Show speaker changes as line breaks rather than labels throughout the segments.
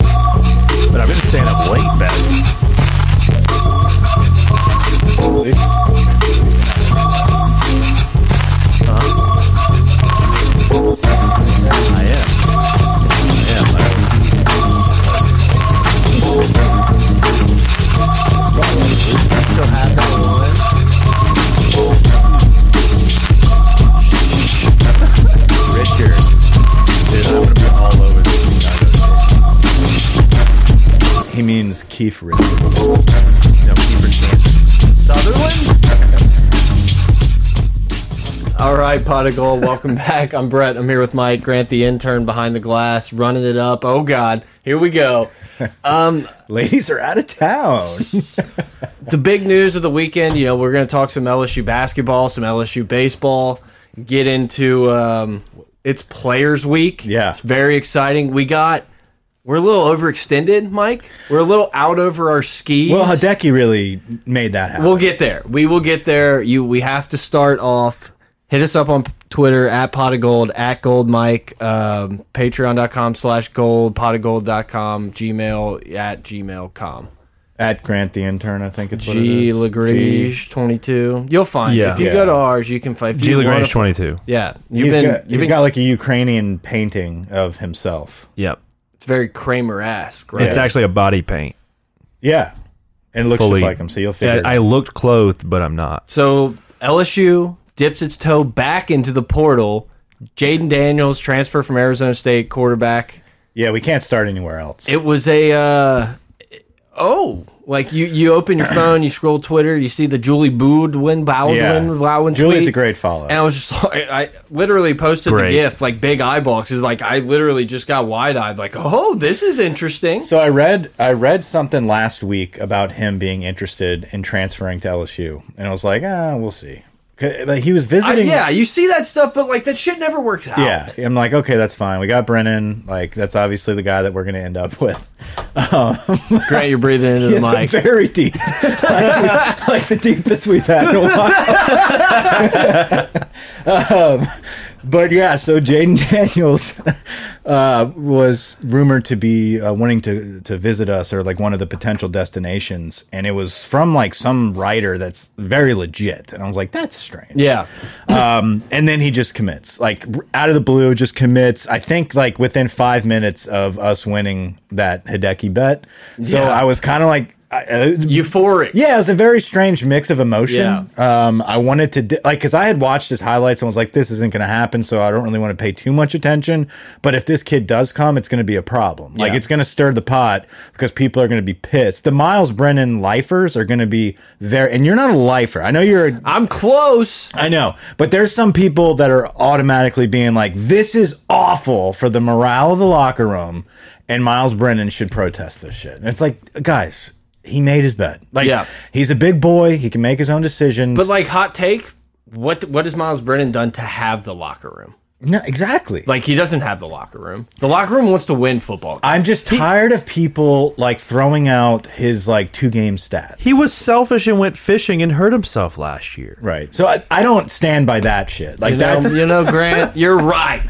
But I've been staying up late, Beth. I am. I am. I-
Still have that one.
Richard. Dude, I would have been all over this guy. He means Keith Richards. No, Keith Richards. Sutherland?
All right, pot of gold. Welcome back. I'm Brett. I'm here with Mike Grant, the intern behind the glass, running it up. Oh God, here we go.
Ladies are out of town.
the big news of the weekend, you know, we're going to talk some LSU basketball, some LSU baseball, get into um, it's Players Week.
Yeah.
It's very exciting. We got, we're a little overextended, Mike. We're a little out over our skis.
Well, Hideki really made that happen.
We'll get there. We will get there. You, we have to start off. Hit us up on Twitter at pot of gold at gold mike um, patreon.com slash gold pot of gold.com gmail at gmail.com
At Grant the Intern, I think it's what it
G
is.
Lagrange twenty two. You'll find
Yeah.
if you
Yeah.
go to ours, you can find. if
G
you wanna-
Lagrange 22.
Yeah, you've
He's
been.
got,
you've
he's
been.
got like a Ukrainian painting of himself.
Yep.
it's very Kramer esque, right?
It's actually a body paint.
Yeah. And it looks
Fully.
just like him, so you'll figure
Yeah,
it
I looked clothed, but I'm not.
So LSU dips its toe back into the portal. Jaden Daniels transfer from Arizona State quarterback.
Yeah, we can't start anywhere else.
It was a uh, oh, like you you open your phone, you scroll Twitter, you see the Julie Boudwin Bowden
yeah.
Bowen
Julie's
tweet.
a great follow.
And I was just like, I literally posted
Great.
the GIF, like big eyeball, because like I literally just got wide eyed, like, oh, this is interesting.
So I read I read something last week about him being interested in transferring to LSU, and I was like, ah, we'll see. 'Cause- But he was
I-
visiting.
yeah, you see that stuff, but like that shit never works out.
yeah. I'm like, okay, that's fine. We got Brennan. Like, that's obviously the guy that we're going to end up with. Um,
Grant, you're breathing into the mic.
very deep, like, we- like the deepest we've had in a while. um, but yeah, so Jaden Daniels uh, was rumored to be uh, wanting to to visit us or like one of the potential destinations, and it was from like some writer that's very legit, and I was like, that's strange.
Yeah,
Um, and then he just commits, like r- out of the blue, just commits. I think like within five minutes of us winning that Hideki bet. So
Yeah.
I was kind of like, I- uh,
euphoric.
yeah, it was a very strange mix of emotion. Um, I wanted to di- like because I had watched his highlights and was like, this isn't going to happen, so I don't really want to pay too much attention. But if this kid does come, it's going to be a problem. Like
Yeah.
it's going to stir the pot because people are going to be pissed. The Miles Brennan lifers are going to be very, and you're not a lifer. I know you're. A,
I'm close.
I know, but there's some people that are automatically being like, "This is awful for the morale of the locker room," and Miles Brennan should protest this shit. And it's like, guys, he made his bet. Like,
Yeah.
he's a big boy; he can make his own decisions.
But like hot take, what what has Miles Brennan done to have the locker room?
no, exactly.
Like he doesn't have the locker room. The locker room wants to win football. games.
I'm just tired of people like throwing out his like two game stats.
He was selfish and went fishing and hurt himself last year.
right, so I, I don't stand by that shit. Like
You know,
that's
you know, Grant, you're right.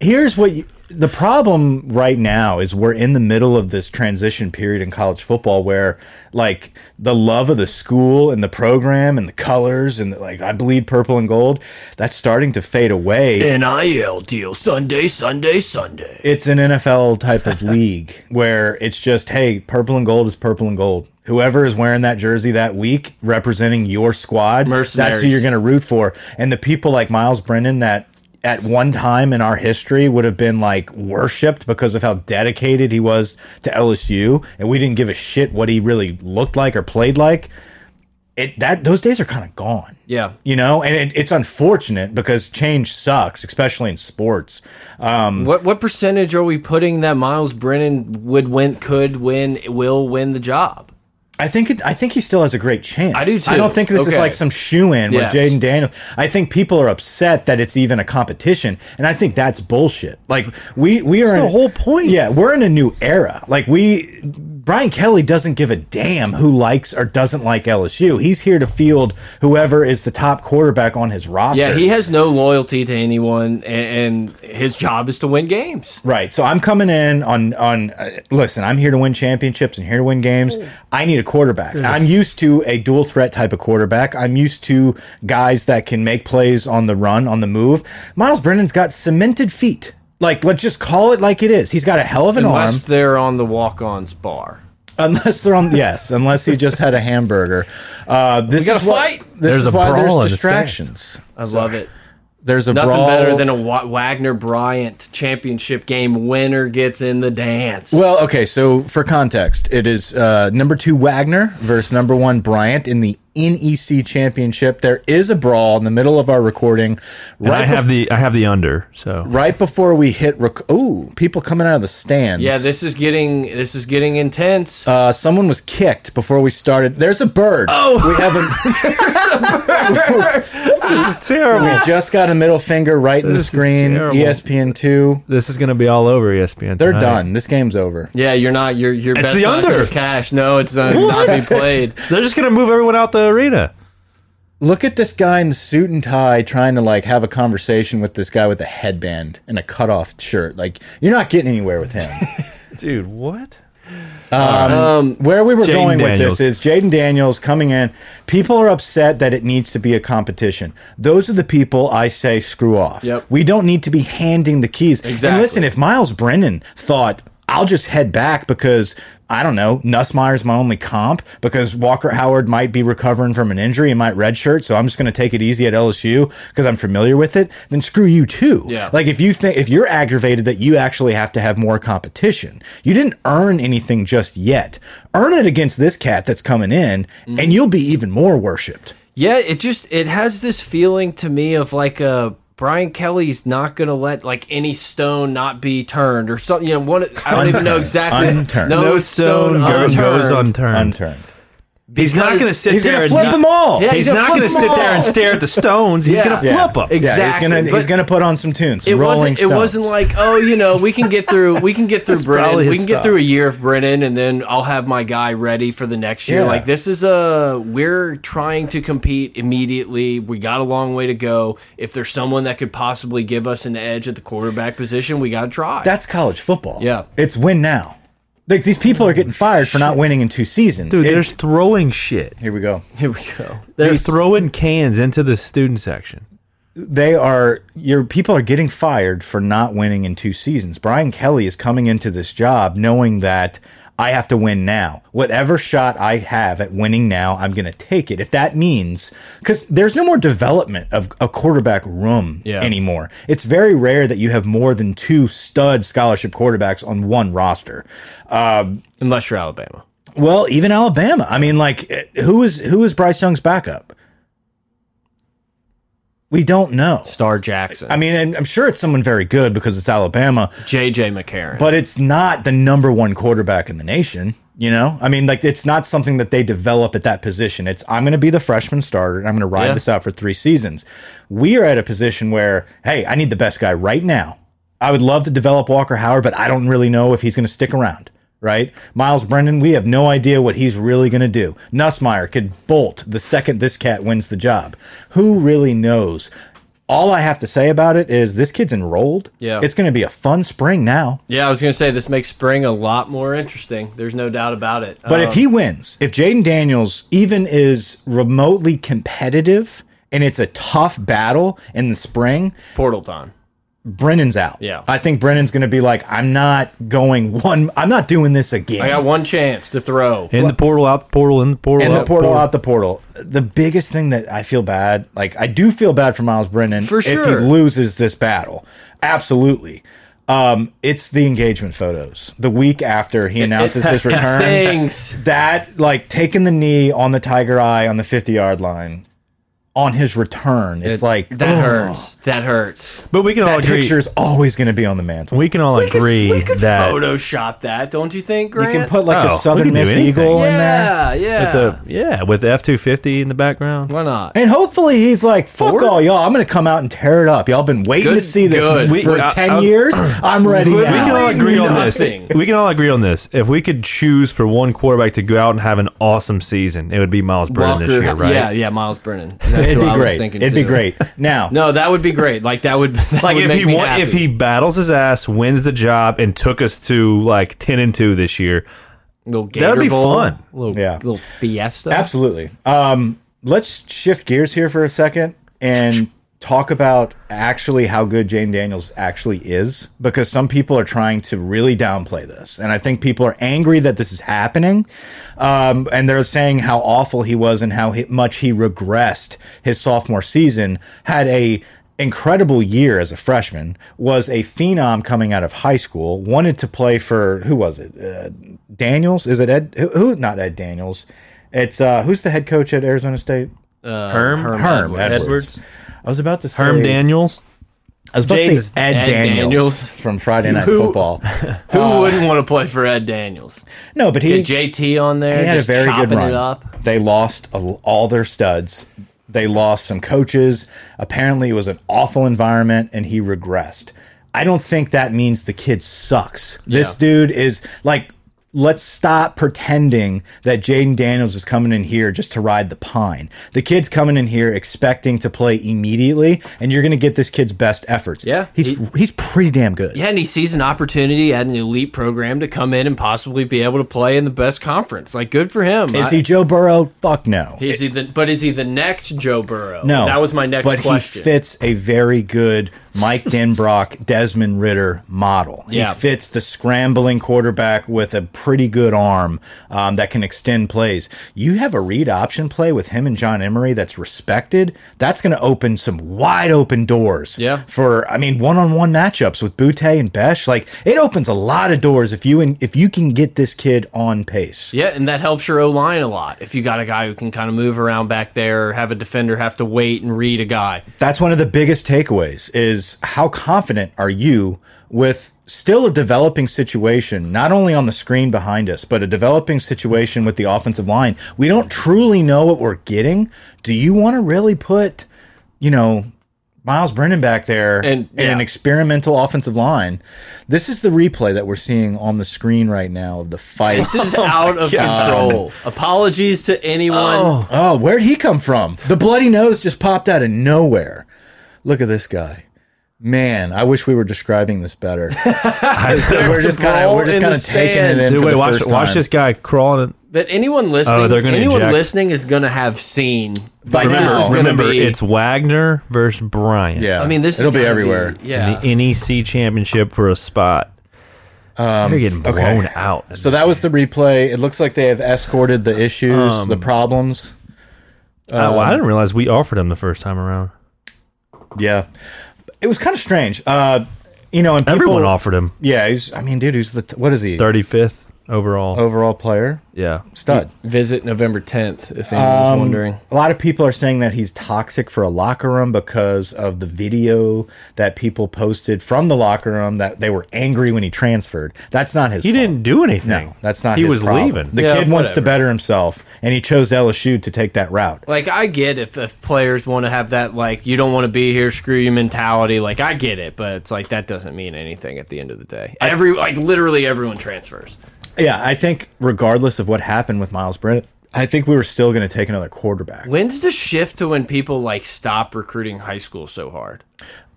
here's what you, the problem right now is we're in the middle of this transition period in college football where like the love of the school and the program and the colors and like I bleed purple and gold that's starting to fade away.
NIL deal Sunday, Sunday, Sunday.
It's an NFL type of league where it's just hey, purple and gold is purple and gold. Whoever is wearing that jersey that week representing your squad, that's who
Mercenaries.
you're going to root for. And the people like Miles Brennan that at one time in our history would have been like worshipped because of how dedicated he was to LSU and we didn't give a shit what he really looked like or played like. It that those days are kind of gone.
Yeah.
You know, and it, it's unfortunate because change sucks, especially in sports.
What what percentage are we putting that Miles Brennan would win, could win, will win the job?
I think it, I think he still has a great chance.
I do
I don't
too.
think this is
Okay.
like some shoe in with
Yes.
Jaden Daniel. I think people are upset that it's even a competition, and I think that's bullshit. Like we we are
the
in-
whole point.
Yeah, we're in a new era. Like we Brian Kelly doesn't give a damn who likes or doesn't like LSU. He's here to field whoever is the top quarterback on his roster.
Yeah, he has no loyalty to anyone, and, and his job is to win games.
Right. So I'm coming in on on. Uh, listen, I'm here to win championships and here to win games. I need a quarterback. I'm used to a dual threat type of quarterback. I'm used to guys that can make plays on the run, on the move. Miles Brennan's got cemented feet. Like let's just call it like it is. He's got a hell of an arm.
Unless they're on the walk-ons bar.
Unless they're on yes, unless he just had a hamburger. Uh, this
gotta
is why,
fight.
This
There's
is
a
why
brawl in
there's
the
distractions.
I love it.
There's a
Nothing
brawl.
better than a Wa Wagner Bryant championship game winner gets in the dance.
Well, okay, so for context, it is uh, number two Wagner versus number one Bryant in the NEC championship. There is a brawl in the middle of our recording.
And I
Right,
have
bef-
the I have the under. So
right before we hit, rec- ooh, people coming out of the stands.
yeah, this is getting this is getting intense.
Uh, someone was kicked before we started. There's a bird. Oh, we have a.
this is terrible.
we just got a middle finger right in the
This is
screen. E
terrible.
ESPN two.
This is going to be all over E ESPN.
They're
tonight.
done. This game's over.
yeah, you're not you're you're
It's
best
the
not
under.
your cash. No, it's uh, not be played.
They're just going to move everyone out the arena.
Look at this guy in the suit and tie trying to like have a conversation with this guy with a headband and a cutoff shirt. Like you're not getting anywhere with him.
Dude, what?
Um,
Where we were
Jaden
going with
Daniels.
this is Jaden Daniels coming in. People are upset that it needs to be a competition. Those are the people I say screw off.
Yep.
We don't need to be handing the keys. And
Exactly.
listen, if Miles Brennan thought I'll just head back because I don't know, Nussmeyer's my only comp because Walker Howard might be recovering from an injury and might redshirt, so I'm just going to take it easy at LSU because I'm familiar with it. Then screw you too.
Yeah.
Like if you think if you're aggravated that you actually have to have more competition, you didn't earn anything just yet. Earn it against this cat that's coming in,
Mm.
and you'll be even more worshipped.
Yeah, it just it has this feeling to me of like a Brian Kelly's not gonna let like any stone not be turned or something. You know, one I don't even know
Unturned.
exactly.
Unturned.
No, stone,
go-
unturned.
goes unturned.
Unturned.
He's not
Because-
going to sit
He's
there.
gonna
and
flip
not-
them all.
Yeah, he's
He's,
gonna
not
flip
going to
them
sit there
all.
and stare at the stones. He's
Yeah.
going to
Yeah.
flip them.
Ex-
Yeah, he's gonna
Exactly,
he's
but-
gonna put on some tunes.
It
Rolling
wasn't. It
Stones.
wasn't like, oh, you know, we can get through. We can get through
probably
Brennan.
his
We can get
style.
through a year of Brennan, and then I'll have my guy ready for the next year.
Yeah.
Like this is a we're trying to compete immediately. We got a long way to go. If there's someone that could possibly give us an edge at the quarterback position, we got to try.
that's college football.
Yeah.
it's win now. Like these people are getting fired for not winning in two seasons.
Dude,
It-
they're throwing shit.
here we go.
Here we go.
They're throwing cans into the student section.
they are your people are getting fired for not winning in two seasons. Brian Kelly is coming into this job knowing that I have to win now. Whatever shot I have at winning now, I'm going to take it. If that means cuz there's no more development of a quarterback room
Yeah.
anymore. It's very rare that you have more than two stud scholarship quarterbacks on one roster. Um
Unless you're Alabama.
well, even Alabama. I mean, like, eh, who is who is Bryce Young's backup? We don't know.
Star Jackson.
I mean, and I'm sure it's someone very good because it's Alabama,
JJ McCarron.
but it's not the number one quarterback in the nation. You know, I mean, like it's not something that they develop at that position. It's I'm going to be the freshman starter. And I'm going to ride
Yeah.
this out for three seasons. We are at a position where, hey, I need the best guy right now. I would love to develop Walker Howard, but I don't really know if he's going to stick around. Right, Miles Brendan, we have no idea what he's really going to do. Nussmeyer could bolt the second this cat wins the job. Who really knows? All I have to say about it is this kid's enrolled.
Yeah.
it's going to be a fun spring now.
yeah, I was going to say this makes spring a lot more interesting. There's no doubt about it. Uh,
But if he wins, if Jaden Daniels even is remotely competitive and it's a tough battle in the spring,
portal time.
Brennan's out.
Yeah.
I think Brennan's going to be like, I'm not going one, I'm not doing this again.
I got one chance to throw.
In the portal, out the portal, in the portal,
in
out
the portal, out the portal. The biggest thing that I feel bad, like I do feel bad for Miles Brennan
For
if he
sure.
loses this battle. Absolutely. Um, it's the engagement photos. The week after he announces his return.
It stings.
that like taking the knee on the tiger eye on the 50 yard line on his return. It's
It-
like
that
oh,
hurts. That hurts.
But we can all
That
agree.
picture's always going to be on the mantle.
we can all agree
we could
that
Photoshop that, don't you think?
You
Grant?
can put like
Oh, we
a
can
Southern
do
Miss
anything.
Eagle in there.
yeah, yeah.
the yeah with the F two fifty in the background.
Why not?
And hopefully he's like, fuck
Ford?
all y'all. I'm going to come out and tear it up. Y'all been waiting
Good-
to see this
good. uh,
We-
for
I-
10
I-
years. I'm ready
We
now.
We can all agree on this.
Nothing.
We can all agree on this. If we could choose for one quarterback to go out and have an awesome season, it would be Miles Brennan this year, right?
Yeah, yeah. Miles Brennan. That's
It'd
who
be
I was
great.
thinking
It'd be
too.
great. Now,
No, that would be great. Like that would that
Like
would
if
make
he
me
won, if
happy.
he battles his ass, wins the job, and took us to like ten and two this year,
little Gator
that'd be
Bowl,
fun.
Little,
Yeah.
little fiesta.
absolutely. Um, let's shift gears here for a second and talk about actually how good Jane Daniels actually is because some people are trying to really downplay this. And I think people are angry that this is happening. Um, and they're saying how awful he was and how he, much he regressed his sophomore season, had a incredible year as a freshman, was a phenom coming out of high school, wanted to play for who was it? Uh, Daniels? Is it Ed? Who, who? Not Ed Daniels. It's uh, who's the head coach at Arizona State?
Uh,
Herm,
Herm
Edwards.
Edwards.
Edwards.
I was about to say
Herm Daniels.
I was about to
James
say Ed,
Ed
Daniels,
Daniels.
from Friday Night
Who-
Football.
Who wouldn't want to play for Ed Daniels?
No, but he
Get JT on there.
they had a
just
very good
chopping
run.
It up.
They lost a, all their studs. They lost some coaches. Apparently, it was an awful environment, and he regressed. I don't think that means the kid sucks. This dude is like, let's stop pretending that Jaden Daniels is coming in here just to ride the pine. The kid's coming in here expecting to play immediately, and you're going to get this kid's best efforts.
Yeah,
he's
he-
he's pretty damn good.
Yeah, and he sees an opportunity at an elite program to come in and possibly be able to play in the best conference. Like, good for him.
Is
I-
he Joe Burrow? Fuck no.
Is he the, but is he the next Joe Burrow?
No,
that was my next
but
question.
he fits a very good Mike Denbrock, Desmond Ritter model.
Yeah.
He fits the scrambling quarterback with a pretty good arm um, that can extend plays. You have a read option play with him and John Emery that's respected. That's going to open some wide open doors.
Yeah.
For I mean, one on one matchups with Butte and Besh, like it opens a lot of doors if you and if you can get this kid on pace.
yeah, and that helps your O line a lot. If you got a guy who can kind of move around back there, have a defender have to wait and read a guy.
that's one of the biggest takeaways is how confident are you with still a developing situation not only on the screen behind us but a developing situation with the offensive line we don't truly know what we're getting do you want to really put you know miles brennan back there
And-
in an
yeah.
experimental offensive line this is the replay that we're seeing on the screen right now of the fight
This is out of control. Apologies to anyone.
oh where'd he come from the bloody nose just popped out of nowhere look at this guy Man, I wish we were describing this better. we're just kind of we're just
in the
kind of taking it in.
stands.
Dude,
for
wait,
the
watch,
first
watch
time.
this guy crawling.
That anyone listening,
Oh, they're gonna
anyone
eject.
listening is going to have seen. By
Remember-
this is gonna
Oh, Remember,
be-
it's Wagner versus Bryant.
Yeah,
I mean, this is
it'll be
gonna
everywhere.
yeah,
In the NEC championship for a spot. They're getting blown
Um, okay.
out.
So that was the replay. It looks like they have escorted the issues, the problems.
Oh,
um,
well, I didn't realize we offered him the first time around.
Yeah, it was kind of strange. Uh, you know, and people,
Everyone offered him
Yeah, he's. I mean, dude, he's the t- what is he?
35th overall.
overall player
Yeah.
stud.
visit November tenth. If anyone's
Um,
wondering,
A lot of people are saying that he's toxic for a locker room because of the video that people posted from the locker room that they were angry when he transferred. That's not his.
He
fault.
didn't do anything.
No, that's not.
He
his
was
problem.
leaving.
The
Yeah,
kid wants to
whatever.
better himself, and he chose LSU to take that route.
Like I get if, if players want to have that like you don't want to be here, screw you mentality. Like I get it, but it's like that doesn't mean anything at the end of the day. Every like literally everyone transfers.
Yeah, I think regardless of what happened with Miles Brennan, I think we were still going to take another quarterback
When's the shift to when people like stop recruiting high school so hard?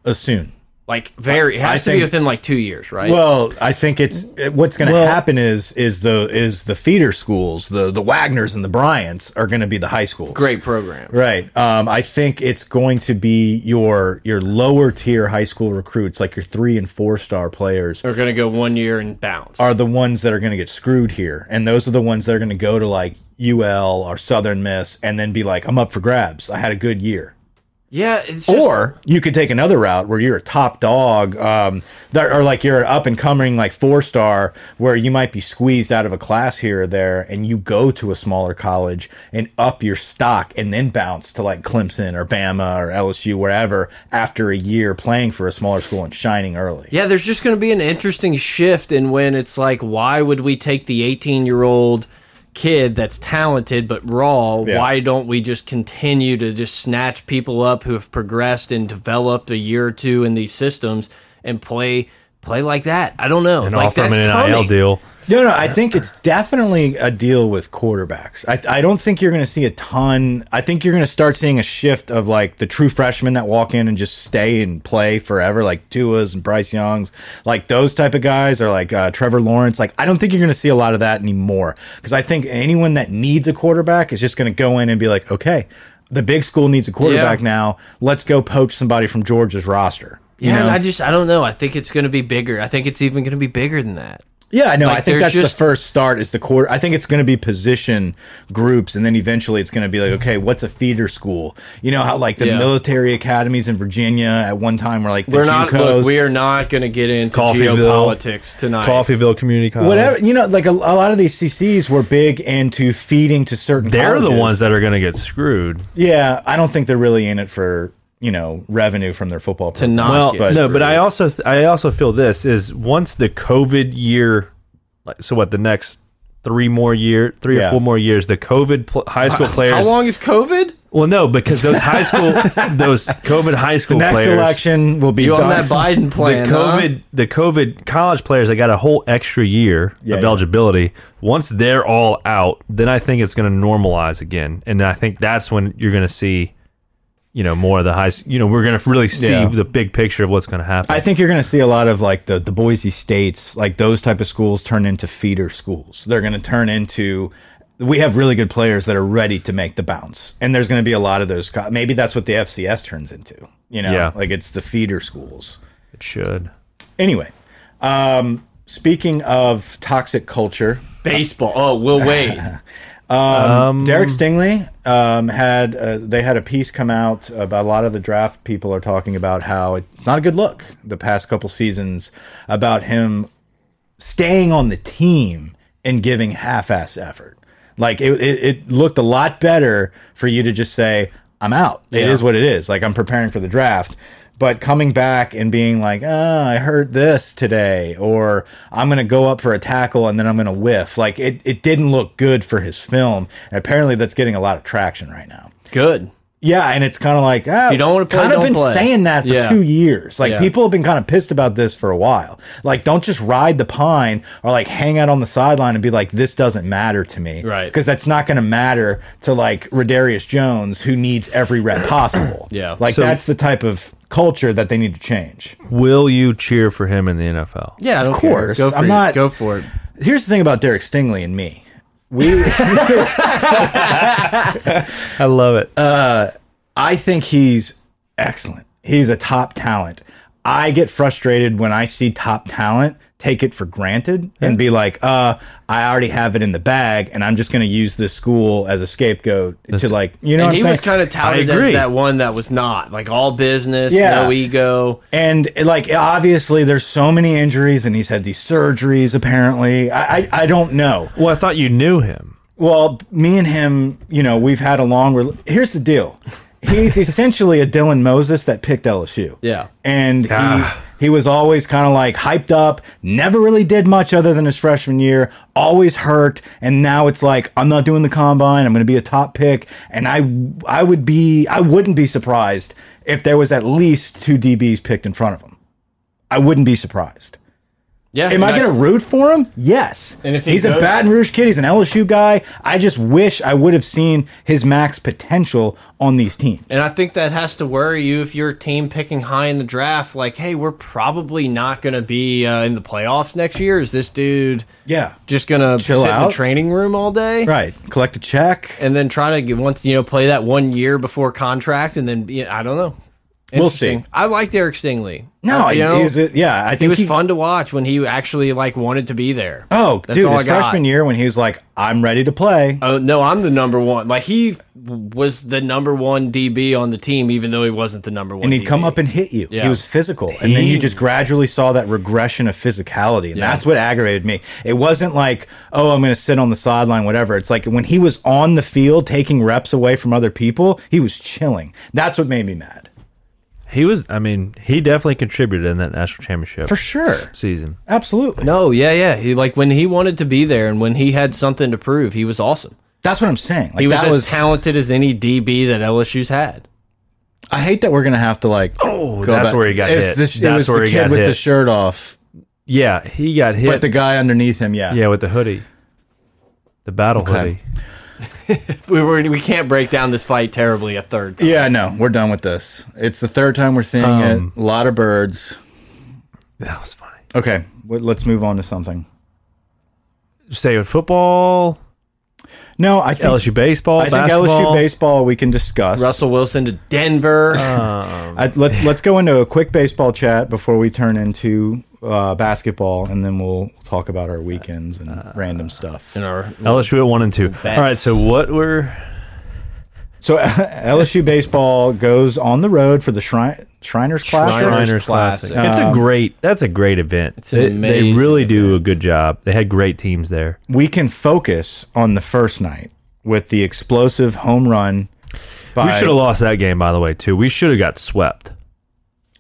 uh, soon.
Like very it has
I
to be
think-
within like two years, right?
Well, I think it's it- what's going to happen is is the is the feeder schools, the the Wagners and the Bryants are going to be the high schools.
Great program.
Right. Um, I think it's going to be your your lower tier high school recruits, like your three and four star players,
They're gonna go one year and bounce.
are the ones that are going to get screwed here, and those are the ones that are going to go to like UL or Southern Miss, and then be like, "I'm up for grabs. I had a good year."
Yeah, it's just,
Or you could take another route where you're a top dog, um, there, or like you're an up and coming, like four star, where you might be squeezed out of a class here or there, and you go to a smaller college and up your stock, and then bounce to like Clemson or Bama or LSU, wherever, after a year playing for a smaller school and shining early.
yeah, there's just going to be an interesting shift in when it's like, why would we take the 18 year old kid that's talented but raw?
Yeah.
Why don't we just continue to just snatch people up who have progressed and developed a year or two in these systems and play play like that? I don't know.
and
like,
offer him
that's
an NIL
coming.
deal.
No, no, I think it's definitely a deal with quarterbacks. I, I don't think you're going to see a ton. I think you're going to start seeing a shift of like the true freshmen that walk in and just stay and play forever, like Tua's and Bryce Young's, like those type of guys, or like uh, Trevor Lawrence. Like, I don't think you're going to see a lot of that anymore because I think anyone that needs a quarterback is just going to go in and be like, okay, the big school needs a quarterback
Yeah.
now. Let's go poach somebody from Georgia's roster. You
Yeah, and
know?
I just I don't know. I think it's going to be bigger. I think it's even going to be bigger than that.
Yeah, no,
Like,
I think
there's
that's the
just-
first start is the quarter. I think it's going to be position groups, and then eventually it's going to be like, okay, what's a feeder school? You know how like the
Yeah.
military academies in Virginia at one time were like the
We're not.
JUCOs.
Look, we are not going to get into
Coffeeville.
geopolitics tonight.
Coffeeville Community College.
Whatever you know, like a, a lot of these CCs were big into feeding to certain.
They're the
colleges.
ones that are going to get screwed.
Yeah, I don't think they're really in it for you know revenue from their football. To
not
Well,
get
no, but I also th I also feel this is once the COVID year, like so what the next three more year, three or
Yeah.
four more years, the COVID pl high school players.
How long is COVID?
Well, no, because those high school, those COVID high school
next
players,
election will be
You on
done.
that Biden
the
plan? huh?
COVID, the COVID college players, they got a whole extra year of
yeah.
eligibility. Once they're all out, then I think it's going to normalize again, and I think that's when you're going to see, you know, more of the high. s- You know, we're going to really see
Yeah.
the big picture of what's going to happen.
I think you're going to see a lot of like the the Boise States, like those type of schools, turn into feeder schools. They're going to turn into. We have really good players that are ready to make the bounce, and there's going to be a lot of those. co- Maybe that's what the FCS turns into. You know,
Yeah.
like it's the feeder schools.
it should.
Anyway, um, speaking of toxic culture, um,
baseball. Oh, we'll wait.
Derek Stingley um, had uh, they had a piece come out about a lot of the draft people are talking about how it's not a good look the past couple seasons about him staying on the team and giving half-ass effort. Like it, it, it looked a lot better for you to just say I'm out. It is what it is. Like I'm preparing for the draft. But coming back and being like, ah, I heard this today, or I'm going to go up for a tackle and then I'm going to whiff. Like, it, it didn't look good for his film. Apparently, that's getting a lot of traction right now.
Good.
Yeah, and it's kind of like ah,
you don't wanna play,
kind of
don't
been
play.
saying that for
Yeah.
two years. Like
Yeah.
people have been kind of pissed about this for a while. Like don't just ride the pine or like hang out on the sideline and be like this doesn't matter to me,
Right.
Because that's not going to matter to like Radarius Jones who needs every rep possible.
Yeah.
like
So-
that's the type of culture that they need to change.
Will you cheer for him in the NFL?
Yeah, I don't
Of
care.
course.
Go for
I'm
it.
not-
Go for it.
Here's the thing about Derek Stingley and me. We
I love it.
Uh, I think he's excellent. He's a top talent. I get frustrated when I see top talent take it for granted and be like, uh, I already have it in the bag and I'm just going to use this school as a scapegoat to like, you know
And
what
he
I'm
was
saying?
kind of touted
I
as
agree.
that one that was not like all business,
Yeah.
no ego.
and like, obviously there's so many injuries and he's had these surgeries apparently. I, I, I don't know.
well, I thought you knew him.
Well, me and him, you know, we've had a long. Rel Here's the deal: he's essentially a Dylan Moses that picked LSU.
Yeah.
and he he was always kind of like hyped up. Never really did much other than his freshman year. Always hurt, and now it's like I'm not doing the combine. I'm going to be a top pick, and I I would be I wouldn't be surprised if there was at least two DBs picked in front of him. I wouldn't be surprised.
Yeah.
Am I
and
going to root for him? Yes.
And if he
he's
goes-
a Baton Rouge kid, he's an LSU guy. I just wish I would have seen his max potential on these teams.
And I think that has to worry you if you're a team picking high in the draft. Like, hey, we're probably not going to be uh, in the playoffs next year. Is this dude
Yeah.
just going to
Chill
sit in
out.
the training room all day?
Right. Collect a check.
And then try to get once you know play that one year before contract, and then be I don't know.
We'll see.
Interesting. I like Derek Stingley. Uh,
No,
I,
I, he's a- yeah, I think
It was fun to watch when he actually like wanted to be there.
Oh,
That's
dude,
all I
his
got.
freshman year when he was like, "I'm ready to play."
Oh no, I'm the number one. Like he was the number one DB on the team, even though he wasn't the number one.
and he'd come
DB.
up and hit you.
Yeah.
He was physical, and then you
He-
just gradually saw that regression of physicality, and that's what aggravated me. It wasn't like, oh, I'm going to sit on the sideline, whatever. It's like when he was on the field taking reps away from other people, he was chilling. That's what made me mad
He was. I mean, he definitely contributed in that national championship
for sure.
season.
Absolutely,
No, yeah, yeah. He like when he wanted to be there and when he had something to prove, he was awesome.
that's what I'm saying. Like
He was
that
as
was.
talented as any DB that LSU's had.
I hate that we're going to have to like.
Oh, that's
back-
where he got
It's
hit.
this- it
That's
was
where
the
he
kid
got
with
hit.
the shirt off,
yeah, he got hit.
but the guy underneath him, yeah.
yeah, with the hoodie, the battle hoodie.
We were we can't break down this fight terribly a third. time.
Yeah, no, we're done with this. It's the third time we're seeing
Um,
it. A lot of birds.
That was funny.
Okay, w- let's move on to something.
Stay with football,
No, I think
LSU baseball,
I think LSU
basketball.
baseball we can discuss.
Russell Wilson to Denver.
Uh,
I, let's let's go into a quick baseball chat before we turn into uh, basketball, and then we'll talk about our weekends and
Uh,
random stuff.
in our
LSU at one and two. All right, so what were
So LSU baseball goes on the road for the Shrine, Shriners Classic.
Shriners.
Shriners Classic?
Classic.
it's a great. That's a great event.
Um, It's an
they, they
amazing
really do a good job. They had great teams there.
We can focus on the first night with the explosive home run. By,
We should have lost that game, by the way, too. We should have got swept.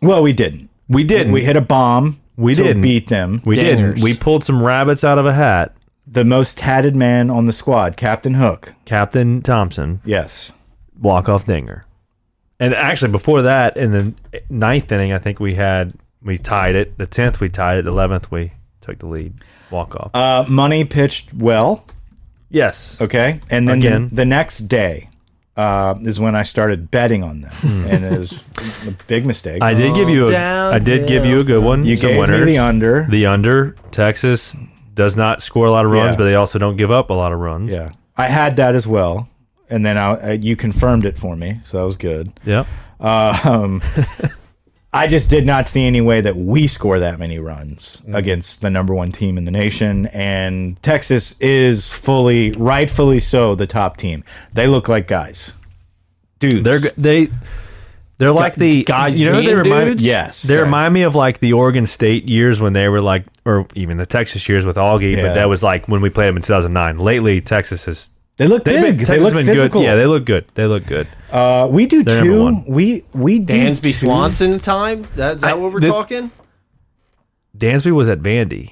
Well, we didn't.
We didn't.
We hit a bomb.
We
to
didn't.
beat them.
We
Dingers.
didn't. We pulled some rabbits out of a hat.
The most tatted man on the squad, Captain Hook.
Captain Thompson,
Yes.
walk off dinger. And actually, before that, in the ninth inning, I think we had we tied it. The tenth, we tied it. The eleventh, we took the lead. Walk off.
Uh, Money pitched well.
yes.
Okay. And then
Again.
The, the next day uh, is when I started betting on them. and it was a big mistake.
Hmm. I did give you a. I did give you a good one.
you
some
gave
winners.
me the under.
The under. Texas does not score a lot of runs,
Yeah.
but they also don't give up a lot of runs.
yeah. I had that as well. And then I, uh, you confirmed it for me. So that was good.
Yep.
Um, I just did not see any way that we score that many runs
Mm.
against the number one team in the nation. And Texas is fully, rightfully so, the top team. They look like guys. Dudes.
They're g- they. They're like the
guys
You know who they
being
remind
dudes?
Yes.
They remind me of like the Oregon State years when they were like, or even the Texas years with Augie,
Yeah.
but that was like when we played them in 2009. Lately, Texas is
They look
they've
big.
been,
they
Texas
look
been
physical.
good. Yeah, they look good. They look good.
Uh, we do
They're number
too.
one.
We we do
Dansby
too.
Swanson time. That, is that
I-
what we're
the-
talking?
Dansby was at
We
Vandy.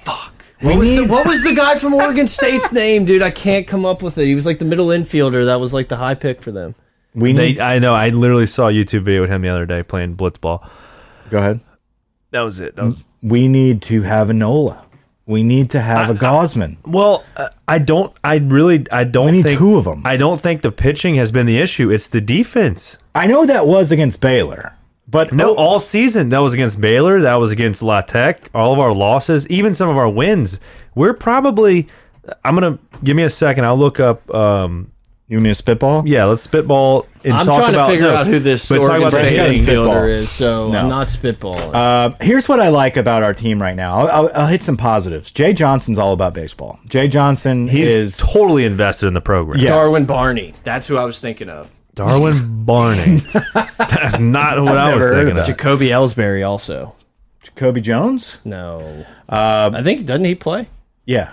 What was, the,
need,
what was the guy from Oregon State's name, dude? I can't come up with it. He was like the middle infielder. That was like the high pick for them.
we need
They, I know. I literally saw a YouTube video with him the other day playing blitzball.
go ahead.
That was it. That was
We need to have Enola. We need to have a Gosman.
well. uh, I don't. I really. I don't
need
think
two of 'em.
I don't think the pitching has been the issue. It's the defense.
I know that was against Baylor, but oh,
No, all season. That was against Baylor. That was against La Tech. All of our losses, even some of our wins. We're probably. I'm gonna give me a second. I'll look up. Um,
you mean a spitball?
yeah, let's spitball and
I'm
talk
trying
about.
to figure
no,
out who this
But talk
Oregon
about the
State
Brad Jennings
hitting.
football.
infielder is, so
No.
I'm not spitballing.
Uh, here's what I like about our team right now. I'll, I'll, I'll hit some positives. Jay Johnson's all about baseball. Jay Johnson
He's
is
totally invested in the program.
yeah.
Darwin Barney. That's who I was thinking of.
Darwin Barney. That's not what i
never
was
heard of
thinking.
that.
Of.
Jacoby Ellsbury also.
Jacoby Jones.
No.
Uh,
I think doesn't he play?
Yeah.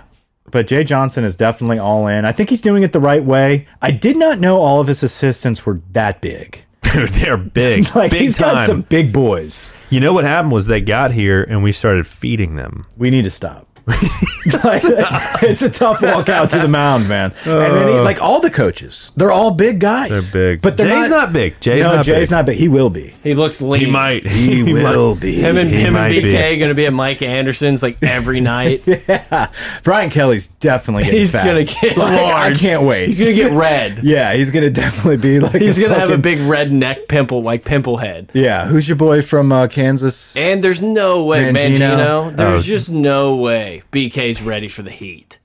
But Jay Johnson is definitely all in. I think he's doing it the right way. I did not know all of his assistants were that big.
Dude, they're big,
Like
big
he's
time.
got some big boys.
You know what happened was they got here and we started feeding them.
we need to stop. Like, it's a tough walk out to the mound, man. and then he, like all the coaches, they're all big guys.
Uh. They're big.
but they're
Jay's not big. Jay's
no,
not
Jay's
big.
not big. He will be.
He looks lean.
He might.
He, will be.
Him and,
He
him and
might be.
BK going to be at Mike Anderson's like every night.
Brian Kelly's definitely. Getting
He's
fat.
gonna get
Like, I
large.
can't wait.
He's going to get red.
yeah, he's gonna definitely be like.
He's going to have a
fucking-
big red neck pimple, like pimple head.
Yeah, who's your boy from uh, Kansas?
And there's no way,
Mangino.
Mangino. There's
Oh.
just no way BK's ready for the heat.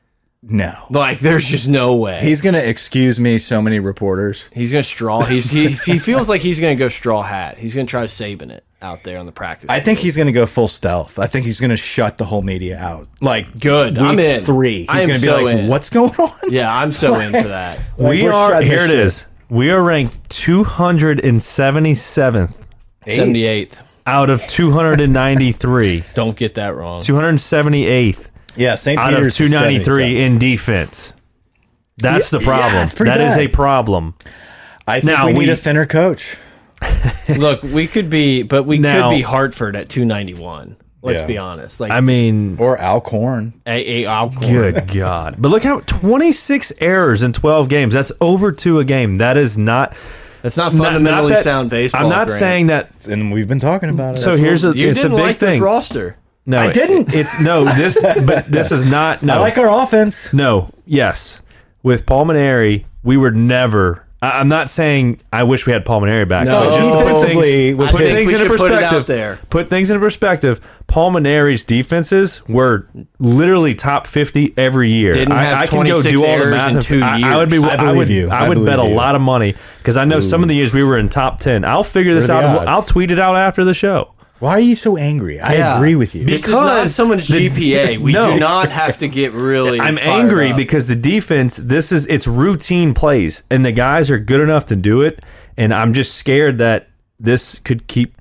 No,
Like, there's just no way. He's,
he's gonna excuse me. So many reporters.
going to straw. He's he, he feels like he's going to go straw hat. He's going to try saving it out there on the practice.
I think he's gonna go full stealth. I think he's gonna shut the whole media out. Like
Good.
week
I'm in.
three. He's
I am
gonna be
so
like,
in.
"What's going on?"
Yeah, I'm so in for that.
Like,
we
we're
are
shredding
here it
shit.
is. We are ranked 277th
78th.
out of 293,
Don't get that wrong.
278th
Yeah, St.
out of
Peter's is
293
77.
in defense. That's the
Yeah,
problem.
it's pretty
That is
bad.
a problem.
I think
Now
we, need
we-
a thinner coach.
Look, we could be, but we
Now-
could be Hartford at 291. Let's
Yeah.
be honest. Like
I mean,
Or Alcorn.
a, a Alcorn.
good God. But look how 26 errors in 12 games. That's over two a game. That is not
That's not
not- not
fundamentally
that-
sound baseball.
I'm not
Grant.
saying that.
And we've been talking about it.
So here's a,
you
it's
didn't
a big
like
thing.
this roster.
No,
I
it-
didn't.
It's no. This, but this is not. No,
I like our offense.
no. Yes, with Pulmonary, we were never. I, I'm not saying I wish we had Pulmonary back.
No,
but just to put
defensively
things,
was
put
his-
things
We
into
should put it
perspective.
out there.
Put things into perspective. Pulmonary's defenses were literally top 50 every year.
Didn't
I,
have
I can go
26
do all the
errors
math.
in
and-
two
I, I would be.
years. I
I,
believe
would.
you.
I
I
would
believe
bet a
you.
lot of money because I know some of the years we were in top 10. I'll figure this
are
out.
the
and
odds?
we'll- I'll tweet it out after the show.
Why are you so angry? I
Yeah.
agree with you.
This is not
Because
someone's
the-
GPA. We
No.
do not have to get really.
I'm
fired
angry
up.
because the defense, this is it's routine plays, and the guys are good enough to do it. And I'm just scared that this could keep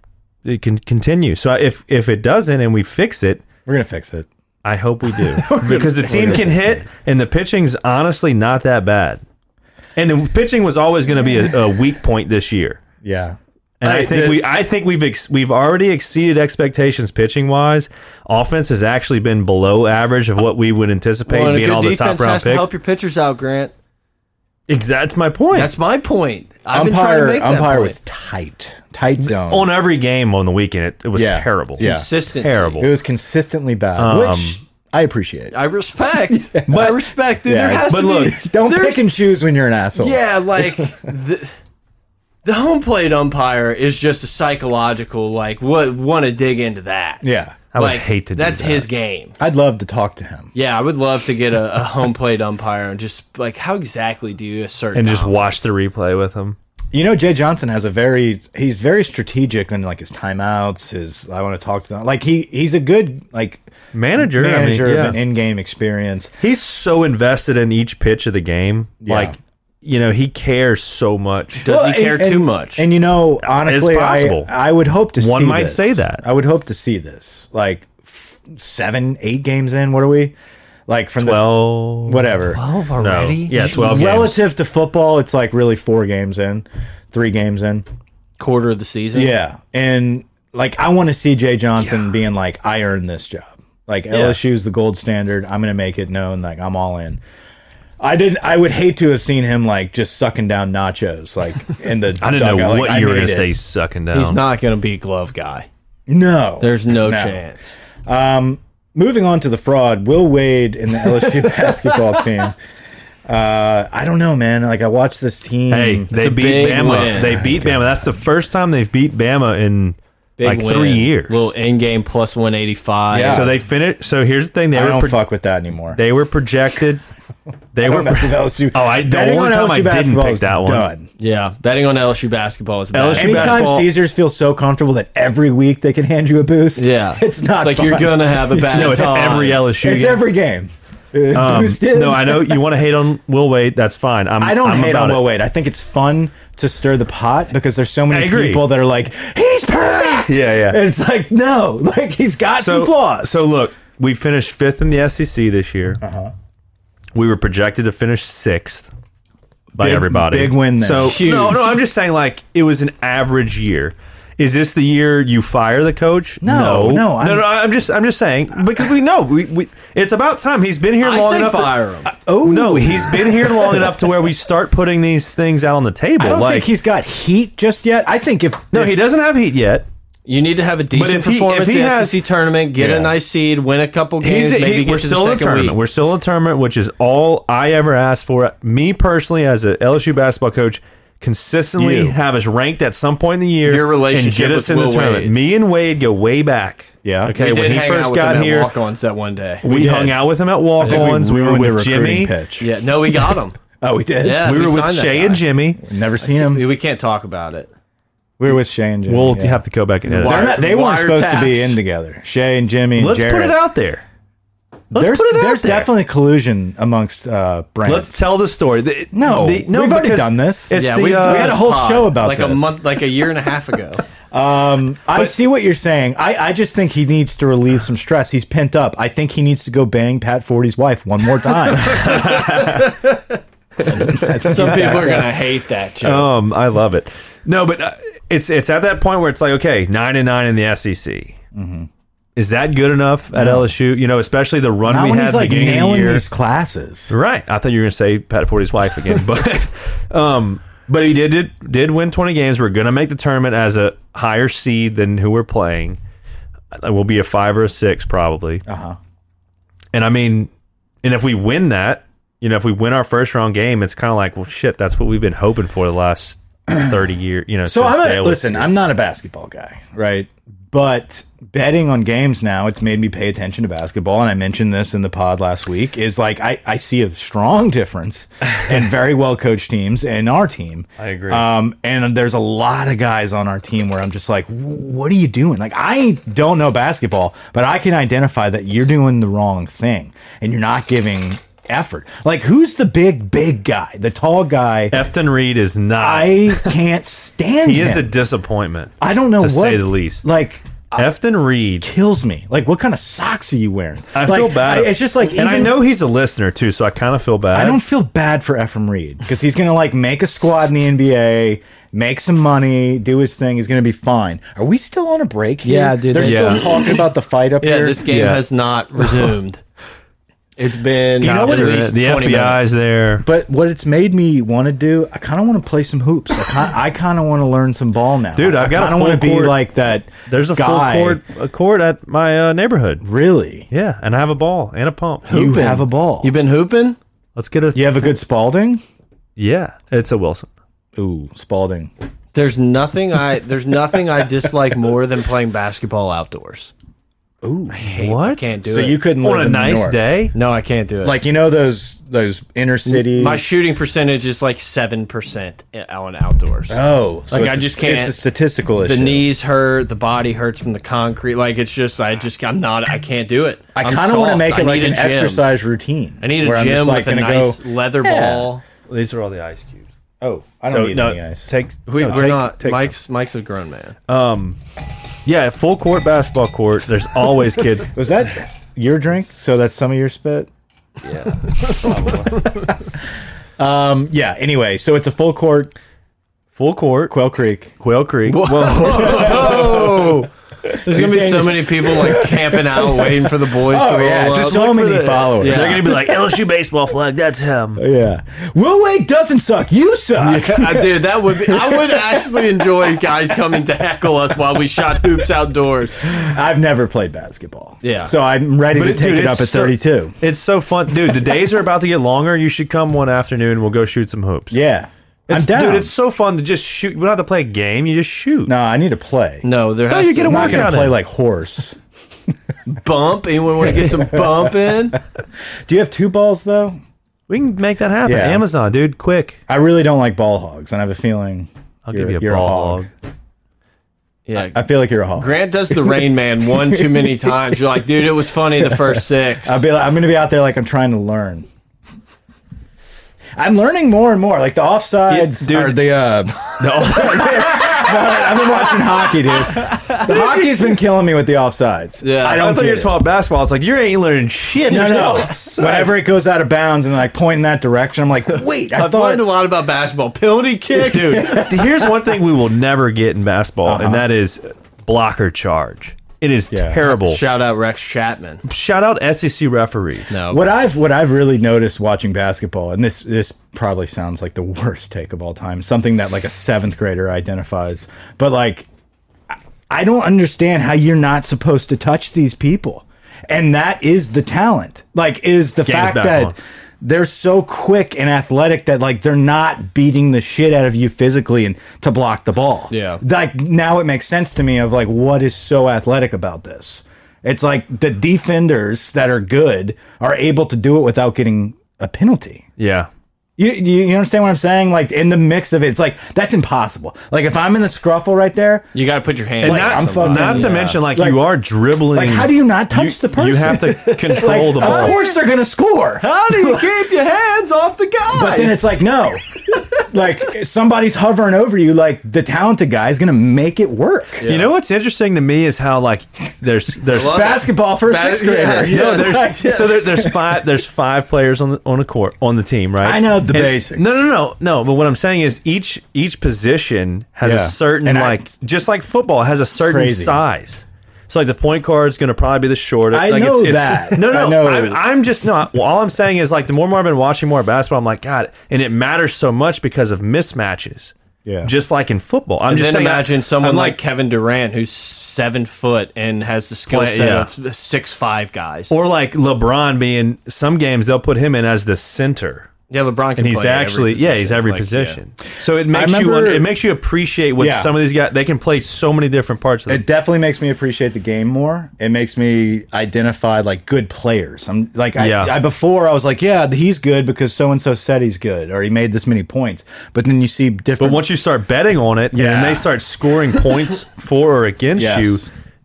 it can continue. So if if it doesn't and we fix it,
We're going to fix it.
I hope we do because the team can hit, and the pitching's honestly not that bad. And the pitching was always going to be a, a weak point this year.
Yeah.
And I,
I-
think
the-
we, I think we've ex, we've already exceeded expectations pitching wise. Offense has actually been below average of what we would anticipate
Well, and a
being
good
all the top
defense
round
has to
picks.
help your pitchers out, Grant.
Ex- That's my point.
That's my point. I've been trying to
umpire
make that
umpire
point.
was tight. Tight zone.
on every game on the weekend, it, it was
Yeah.
terrible.
Yeah.
Consistency.
Terrible.
it was consistently bad,
Um,
which I appreciate.
I respect. I respect, dude. there
Yeah.
has
But
to
look,
be.
Don't
there's-
pick and choose when you're an asshole.
Yeah, like the, the home plate umpire is just a psychological. Like, what want to dig into that?
Yeah.
I would
like,
hate to do
That's
that.
his game.
I'd love to talk to him.
Yeah, I would love to get a, a home plate umpire and just like, how exactly do you assert?
and just
dominance?
watch the replay with him.
You know, Jay Johnson has a very he's very strategic in like his timeouts, his I want to talk to them. Like he he's a good like
Manager, I mean,
manager
yeah.
of an in game experience.
He's so invested in each pitch of the game. Like, you know, he cares so much.
does
Well,
he
and-
care
and-
too much?
And you know, honestly, I
possible.
I would hope to
One
see
might
this.
say that.
I would hope to see this. Like f seven, eight games in, what are we? Like from
well,
this whatever.
no. Yeah, 12 games.
Relative to football, it's like really four games in, three games in.
quarter of the season.
Yeah. And like I want to see Jay Johnson being like, I earned this job. Like LSU's the gold standard. I'm gonna make it known, like I'm all in. I didn't I would hate to have seen him like just sucking down nachos, like in the
I didn't know
dugout, like,
what
I
you were
made
going to
it.
say sucking down.
he's not going to be glove guy.
No.
There's no, chance.
Moving on to the fraud, Will Wade and the LSU basketball team. Uh, I don't know, man. Like I watched this team.
Hey, they
a
beat
big
Bama.
win.
They beat Bama. That's the first time they've beat Bama in
Big
like
win.
three years.
Little in game plus one eighty five.
Yeah.
So they finished. So here's the thing: they
I
were
don't
pro-
fuck with that anymore.
they were projected. They were.
Don't mess with LSU.
Oh, I- the
Betting
one
on
time
LSU
I didn't
basketball
pick
is
that one.
Done.
Yeah, betting on LSU basketball is bad.
LSU
Anytime
basketball-
Caesars feels so comfortable that every week they can hand you a boost,
Yeah,
it's not
like you're
fun.
gonna have a bad.
No, it's
time.
every LSU
It's
game.
every game. Uh,
Um,
boosted.
no, I know you want to hate on Will Wade. That's fine. I'm,
I don't
I'm
hate
about
on
it.
Will Wade. I think it's fun to stir the pot because there's so
I
many
agree.
people that are like, he's perfect.
Yeah, yeah.
And it's like, no, like he's got some flaws. Uh-huh.
So look, we finished fifth in the SEC this year. We were projected to finish sixth by
Big-
everybody.
big win there.
So
Huge.
no, no, I'm just saying like it was an average year. Is this the year you fire the coach?
No, no,
no,
I'm-
no. I'm just, I'm just saying because we know we, we it's about time he's been here long
I say
enough. to-
fire him.
oh
no, he's been here long enough to where we start putting these things out on the table.
I don't
like
think he's got heat just yet. I think if
no,
if-
he doesn't have heat yet.
You need to have a decent
if he- if
performance
he
in the
has-
SEC tournament, get a
Yeah.
nice seed, win a couple games,
He's,
maybe
he,
get
we're
to
still
the
in a
second
tournament.
week.
We're still in a tournament, which is all I ever asked for. Me personally, as a LSU basketball coach, consistently
You.
have us ranked at some point in the year.
Your relationship
and get us
with
in
Will
the tournament.
Wade.
Me and Wade go way back.
Yeah.
Okay.
We did
when he
hang out
first
with
got
him at
here,
walk-ons that one day.
we,
did.
hung out with him at walk
I think
ons. We, were
ruined the
with
recruiting
Jimmy.
pitch.
Yeah, no, we got him.
Oh, we did.
Yeah,
We were with
signed that
Shay
guy.
and Jimmy.
Never seen him.
We- We can't talk about it.
We were with Shay and Jimmy.
We'll
yeah.
have to go back and edit.
They're
that.
not- they weren't supposed to be
wiretaps.
in together. Shay and Jimmy. And
Let's put
Jared.
it out there.
there's
put it out
there's
there.
definitely collusion amongst uh, brands.
Let's tell the story. The-
No,
the-
we've already
because
done this.
It's
Yeah,
the,
we've-
uh,
we had a whole
pod,
show about
like a
this.
month, like a year and a half ago.
I see what you're saying. I, I just think he needs to relieve some stress. He's pent up. I think he needs to go bang Pat Forty's wife one more time.
Some people are gonna hate that. Joke.
Um, I love it. No, but uh, it's it's at that point where it's like, okay, nine and nine in the SEC.
Mm-hmm.
Is that good enough at LSU? You know, especially the run
Not
we
when
had
he's
the
like
beginning of the
nailing
year.
these classes.
Right. I thought you were going to say Pat Forty's wife again, but um, but he did, did did win twenty games. We're going to make the tournament as a higher seed than who we're playing. Uh, We'll be a five or a six probably. Uh
Uh-huh.
huh. And I mean, and if we win that, you know, if we win our first round game, it's kind of like, well, shit, that's what we've been hoping for the last thirty years. You know.
So
since
I'm
they
a,
was-
listen. I'm not a basketball guy, right? But betting on games now, it's made me pay attention to basketball. And I mentioned this in the pod last week. Is like I, I see a strong difference in very well coached teams and our team.
I agree.
Um, and there's a lot of guys on our team where I'm just like, what are you doing? Like I don't know basketball, but I can identify that you're doing the wrong thing and you're not giving effort. Like who's the big big guy, the tall guy?
Efton Reed is not.
I can't stand
he is
him.
a disappointment.
I don't know
to
what,
say the least.
Like
Efton Reed
kills me. Like what kind of socks are you wearing?
I
Like,
feel bad.
I- it's just like
and I
even-
know he's a listener too, so I kind of feel bad.
I don't feel bad for Ephraim Reed because he's gonna like make a squad in the NBA, make some money, do his thing. He's gonna be fine. Are we still on a break? Here?
Yeah, dude,
They're
that's-
still
Yeah.
talking about the fight up
Oh, yeah,
here.
this game
Yeah.
has not resumed. it's been
know what
at
it
least
the
20
FBI's
minutes.
there.
but what it's made me want to do, I kind of want to play some hoops. I kind, I kind of want to learn some ball now,
Dude, I've got a
I kind of want to
full
be
court-
like that.
There's a
guy.
full court a court at my uh, neighborhood.
Really,
Yeah, and I have a ball and a pump.
you
Hooping.
have a ball.
You been hooping?
Let's get a
you have a good Spalding.
yeah. It's a Wilson.
Ooh, Spalding.
There's nothing I there's nothing I dislike more than playing basketball outdoors.
Ooh,
what?
I can't do
so
it.
you couldn't
on
live
a
in the
nice
north.
day?
no, I can't do it.
like you know those those inner cities.
my shooting percentage is like seven percent on outdoors.
Oh, so
Like,
it's
I
a-
just can't-
It's a statistical
the
issue.
knees hurt, the body hurts from the concrete. Like it's just, I just, I'm not, I can't do it.
I kind of want to make it like an
exercise.
exercise routine.
I need a
where I'm
gym
just, like,
with a
gonna
nice
go,
leather
Yeah.
ball.
These are all the ice cubes.
Oh, I don't
So
need
no,
any ice.
take
We,
no,
we're
take-
not.
take
Mike's Mike's a grown man.
some. Yeah, full court basketball court. There's always kids.
Was that your drink? So that's some of your spit. Yeah. um. Yeah. Anyway, so it's a full court
Full court,
Quail Creek.
Quail Creek. Whoa.
oh, there's gonna be
days-
so many people like camping out, waiting for the boys.
Oh,
to roll up.
so many followers.
Yeah.
They're gonna be like LSU baseball flag. That's him.
Yeah. Will Wade doesn't suck. You suck.
I, Uh, dude, that would be. I would actually enjoy guys coming to heckle us while we shot hoops outdoors.
I've never played basketball.
Yeah.
So I'm ready to
it-
take
dude,
it up
it's
at
so-
32.
It's so fun, dude. The days are about to get longer. You should come one afternoon. We'll go shoot some hoops.
Yeah.
It's-
I'm down.
dude. It's so fun to just shoot. We don't have to play a game. You just shoot.
no, I need to play.
No, there has
you
to
get
be
a
I'm not going
workout
to play
in.
like horse.
bump. Anyone want to get some bump in?
Do you have two balls though?
We can make that happen.
Yeah.
Amazon, dude, quick.
I really don't like ball hogs, and I have a feeling
I'll
you're,
give you
you're
a ball. hog.
Yeah,
I feel like you're a hog.
Grant does the Rain Man one too many times. You're like, dude, it was funny the first six.
I'll be like, I'm going to be out there like I'm trying to learn. I'm learning more and more, like the offsides
Yeah, dude.
or the. Uh, I've been watching hockey, dude. The hockey's been killing me with the offsides.
Yeah.
I
I
don't
thought
get
you were
it.
just talking about basketball. It's like you ain't learning shit.
No, no.
yourself.
Whenever it goes out of bounds and like point in that direction, I'm like, wait, I
I've learned a
thought.
lot about basketball. Penalty kicks,
dude. Here's one thing we will never get in basketball, and that is blocker charge. It is
Uh-huh. Yeah.
terrible.
Shout out Rex Chapman.
Shout out E SEC referee.
No,
What I've what I've really noticed watching basketball, and this this probably sounds like the worst take of all time, something that like a seventh grader identifies, but like I- I don't understand how you're not supposed to touch these people, and that is the talent. Like, is the fact
back
that
on.
they're so quick and athletic that like they're not beating the shit out of you physically and to block the ball.
Yeah.
Like now it makes sense to me of like what is so athletic about this. It's like the defenders that are good are able to do it without getting a penalty.
Yeah.
You, you you understand what I'm saying? Like in the mix of it, it's like that's impossible. Like if I'm in the scruffle right there,
You got to put your hand.
And
on
not-
not,
I'm
somebody.
fucking-
not to
yeah.
mention, like,
Like-
you are dribbling.
like how do you not touch the person?
You have to
Like,
control the ball.
Of course they're gonna score.
How do you keep your hands off the guy?
But then it's like no, like somebody's hovering over you. Like the talented guy is gonna make it work.
You know what's interesting to me is how like there's there's
love
fa-
Basketball for a
Bas-
sixth grader.
yeah,
You
yeah,
know,
no, there's,
like-
so there, there's five there's five players on the on a court on the team, right?
I know the basics.
No, no, no, no. But what I'm saying is each each position has
Yeah.
a certain
And I-
like just like football has a certain
crazy.
size. So like the point guard is going to probably be the shortest.
I
like
know that.
No, no,
I know.
I'm, I'm just not. well, all I'm saying is like the more and more I've been watching more basketball, I'm like God, and it matters so much because of mismatches.
Yeah.
Just like in football, I'm
And
just
then
saying that-
imagine someone
I'm
like, Kevin Durant, who's seven foot and has the skill
Play-
set
yeah.
of the six five guys.
Or like LeBron being some games they'll put him in as the center.
yeah, LeBron can
And he's
play every
actually yeah, he's
position,
every
like,
position. So it makes you
remember-
wonder- it makes you appreciate what
Yeah.
some of these guys they can play so many different parts of the
It definitely makes me appreciate the game more. It makes me identify like good players. I'm like I,
Yeah.
I before I was like, yeah, he's good because so and so said he's good or he made this many points. But then you see different
But once you start betting on it
Yeah.
and they start scoring points for or against
Yes.
you,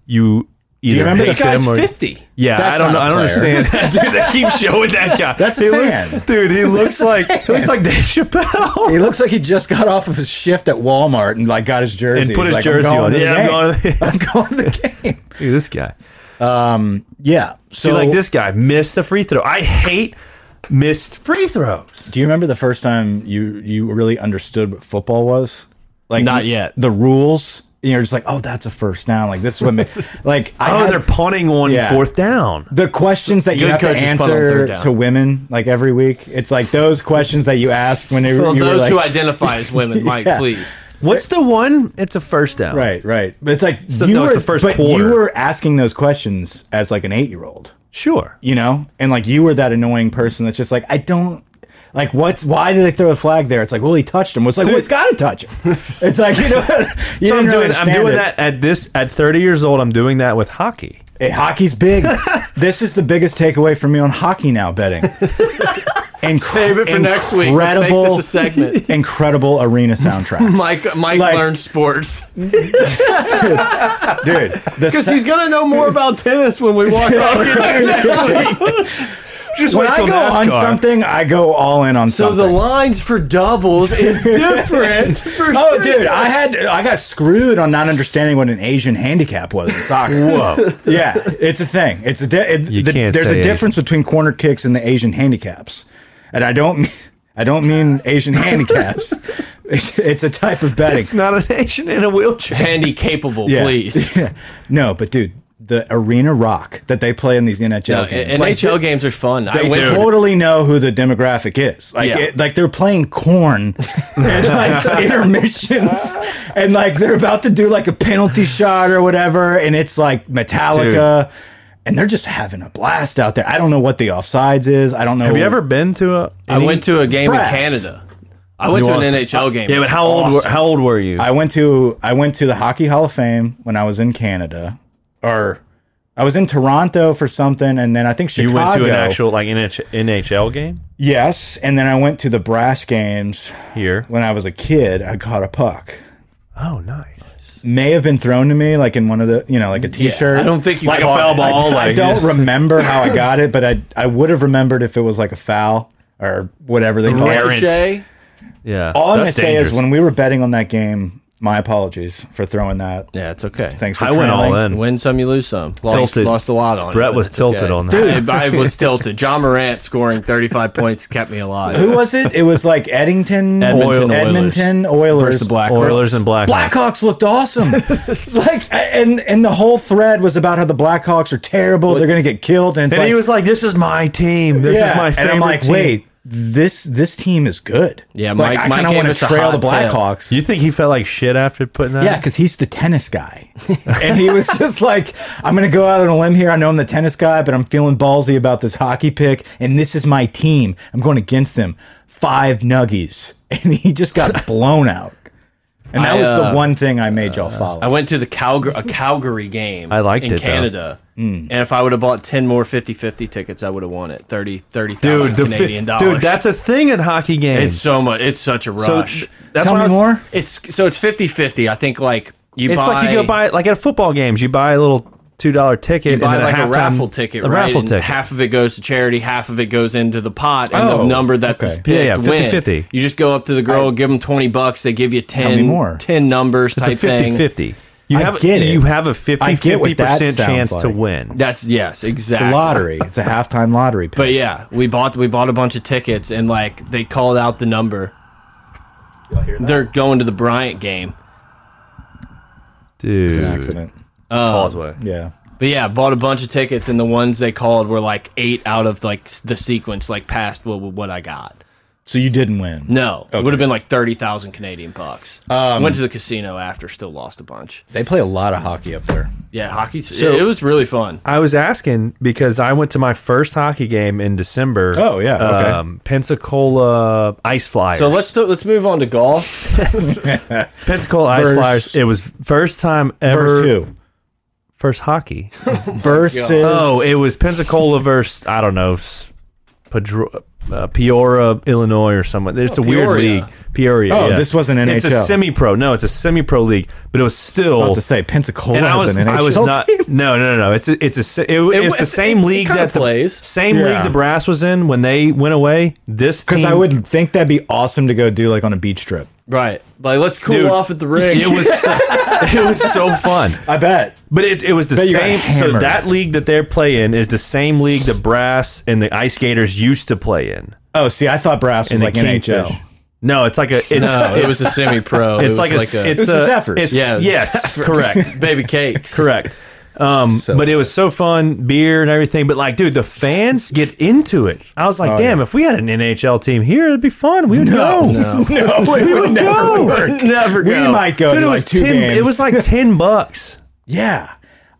you either
remember
hate
the
them or
fifty.
yeah,
That's
I don't know.
not
I
a
don't
player.
understand. dude, they keep showing that guy.
That's a
He look-
fan.
dude. He looks like he looks like Dave Chappelle.
he looks like he just got off of his shift at Walmart and like got his jersey
And
He's
put his
like,
jersey
I'm going
on.
to the
Yeah, I'm
game.
going to the-
I'm going to the game.
Dude, this guy.
Yeah. So
See, like this guy missed the free throw. I hate missed free throws.
Do you remember the first time you you really understood what football was? Like
Not yet.
The rules. And you're just like, oh, that's a first down. Like this is what, ma- like I
Oh,
had-
they're punting on
Yeah.
fourth down.
the questions that you
Good
have to
coaches punt on third
answer
down.
to women like every week. It's like those questions that you asked when they,
Well,
you were
those
like,
who identify as women, Mike,
Yeah.
please.
What's the one? It's a first down.
right, right. But it's like
So,
you
no,
were
it's the first
but
quarter.
you were asking those questions as like an eight year old,
Sure.
you know, and like you were that annoying person that's just like, I don't. Like what's why did they throw a flag there? It's like well he touched him. It's like well he's got to touch him. It's like you know you
So
didn't
I'm
really
doing I'm
understand
doing
it.
that at this at 30 years old. I'm doing that with hockey.
Hey, hockey's big. this is the biggest takeaway for me on hockey now betting. Incre-
Save it for next week. Let's make
Incredible,
this a segment.
incredible arena soundtracks.
Mike, Mike
Like-
learns sports
dude,
because he's gonna know more about tennis when we walk out here next week.
Just
when I go on something, I go all in on
So
something.
the lines for doubles is different. For
Oh, dude, I had I got screwed on not understanding what an Asian handicap was in soccer. Whoa, yeah, it's a thing. It's a di- it,
You
the-
can't
There's
say
a difference between corner kicks and the Asian handicaps, and I don't mean- I don't mean Asian handicaps. It's, it's a type of betting.
It's not a nation in a wheelchair.
handy capable,
Yeah.
please.
Yeah. no, but dude, the arena rock that they play in these NHL
No,
games,
NHL
like,
games are fun. I
they
went to
totally know who the demographic is. Like,
Yeah.
it, like they're playing corn and like intermissions, and like they're about to do like a penalty shot or whatever, and it's like Metallica. And they're just having a blast out there. I don't know what the offsides is. I don't know.
Have you ever been to a?
I
any-
went to a game
Press.
in Canada. I went to an
Orleans.
NHL game.
Yeah, but how old? Were,
Awesome.
how old were you?
I went to I went to the Hockey Hall of Fame when I was in Canada, or I was in Toronto for something, and then I think Chicago.
you went to an actual like NH- NHL game
yes, and then I went to the brass games
here.
when I was a kid. I caught a puck.
Oh, nice.
May have been thrown to me, like in one of the, you know, like a T-shirt.
I don't think you
Like a
caught
foul
it.
I,
ball.
I
like
don't
just-
remember how I got it, but I I would have remembered if it was like a foul or whatever they call it.
Errant.
Ricochet.
Yeah.
All I'm gonna
That's
say is
dangerous.
when we were betting on that game, my apologies for throwing that.
Yeah, it's okay.
Thanks for
I went all
trailing.
in.
Win some, you lose some. Lost,
Tilted.
lost a lot on it.
Brett
but
was
it's
tilted
okay.
on
Dude, I, I was tilted. John Morant scoring 35 points kept me alive.
Who was it? It was like Eddington,
Edmonton Oilers.
Edmonton Oilers,
Versus the Black-
Oilers and Blackhawks.
Blackhawks looked awesome. like, and and the whole thread was about how the Blackhawks are terrible. They're going to get killed. And, it's
And
like,
he was like, "This is my team. This
yeah.
is my favorite
and I'm like,
team."
wait, this this team is good.
Yeah, Mike-
like, I
Mike
kind of
gave
want to
us a
trail
hot
the Blackhawks.
Do you think he felt like shit after putting that?
Yeah,
up?
because he's the tennis guy, and he was just like, "I'm going to go out on a limb here. I know I'm the tennis guy, but I'm feeling ballsy about this hockey pick, and this is my team. I'm going against them. Five nuggies, and he just got blown out. And that
I,
was
uh,
the one thing I made y'all follow.
I went to the Calgary, a Calgary game
I liked
in
it, though.
Canada. And if I would have bought 10 more 50 50 tickets, I would have won it. 30, 30,000
dude. The fi-
Canadian dollars.
dude, that's a thing at hockey
it's
games.
so much. It's such a rush.
th- that's
Tell
why
me
I was-
more.
it's so it's 50 50. I think like you
It's
buy.
like you go buy like at football games, you buy a little two dollar ticket,
you buy
and then
like a,
halftime-
raffle ticket,
a
right?
raffle
and
ticket.
Half of it goes to charity, half of it goes into the pot, and the
Oh,
number that
okay.
is picked
Yeah, yeah,
win.
50-50.
You just go up to the girl, give them twenty bucks, they give you ten,
me more.
ten numbers type
it's a 50
thing.
50. You
I
have
get it.
you have a 50
I get what that
50%
sounds
chance to
like.
win.
That's yes,
It's
exactly.
a lottery. It's a halftime lottery. Pick.
But yeah, we bought we bought a bunch of tickets, and like they called out the number. They're going to the Bryant game.
Dude.
it's an accident.
Uh, Causeway.
Yeah.
But yeah, bought a bunch of tickets, and the ones they called were like eight out of like s- the sequence, like past what what I got.
So you didn't win.
No, it would have been like thirty thousand Canadian bucks. Went to the casino after, still lost a bunch.
They play a lot of hockey up there.
Yeah, hockey. it, it was really fun.
I was asking because I went to my first hockey game in December.
Oh, yeah, okay.
Um, Pensacola Ice Flyers.
So let's do, let's move on to golf.
Pensacola Ice
Verse-
Flyers. It was first time ever
Versus who?
first hockey.
Versus.
Oh, it was Pensacola versus I don't know, s- Pedro, uh, Peoria, Illinois, or someone. It's a weird
Peoria.
league. Peoria.
Oh,
yeah.
this wasn't
It's a
NHL.
semi-pro. No, it's a semi-pro league, but it was still.
I was about to say Pensacola
and I
is
was,
an NHL
I was not.
team.
No, no, no, no. It's a, it's a, se- it, it's the
was-
same
it- it
league
kinda
that the
plays.
same
Yeah.
league the Brass was in when they went away. This
Because
team-
I would think that'd be awesome to go do like on a beach trip.
Right, like let's cool
Dude,
off at the ring.
It was so, it was so fun.
I bet.
But it, it was the
Bet you got
same. So
hammered.
that league that they're playing is the same league the Brass and the Ice Skaters used to play in.
Oh, see, I thought Brass was
in the
like NHL.
Kingfish. No, it's like Oh, a. It's,
no, it was a
it's-
semi pro.
It's like, a, It's
It was the
a-
Zephyrs.
It's,
Yeah, it was
Yes. correct.
baby cakes.
Correct. Um, but it was so fun, beer and everything. But like, dude, the fans get into it. I was like,
Oh,
damn, if we had an NHL team here, it'd be fun. We would go.
No, we would never
go.
work.
Never
We
go.
might go
Dude,
to
it
like
was
two
ten,
games.
It was like ten bucks.
yeah.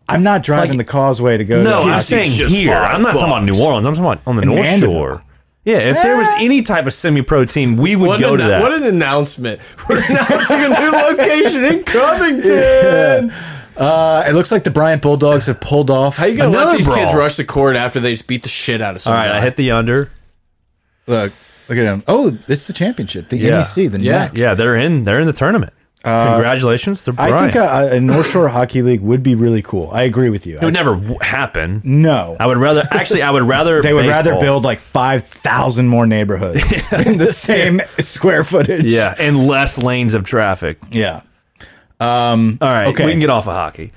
I'm not driving the causeway to go.
No,
to
I'm saying here. I'm not talking about New Orleans. I'm talking about on the North
Mandeville.
Shore. Yeah, if there
Ah.
was any type of semi-pro team, we would
What,
go
an,
to that.
what an announcement! We're announcing a new location in Covington.
Uh, it looks like the Bryant Bulldogs have pulled off.
How you gonna
Another
let these kids
brawl.
rush the court after they just beat the shit out of
All
someone?
right, I hit the under.
Look, look at him. Oh, it's the championship. The
Yeah.
NEC, E the
Yeah.
neck. Uh,
Yeah, they're in. They're in the tournament. Congratulations, they're
I
Bryant.
think a, a North Shore Hockey League would be really cool. I agree with you.
it
I-
would never w- happen.
no,
I would rather actually I would rather
they would rather
baseball.
build like five thousand more neighborhoods in the same square footage.
yeah and less lanes of traffic.
yeah.
All right,
Okay.
we can get off of hockey.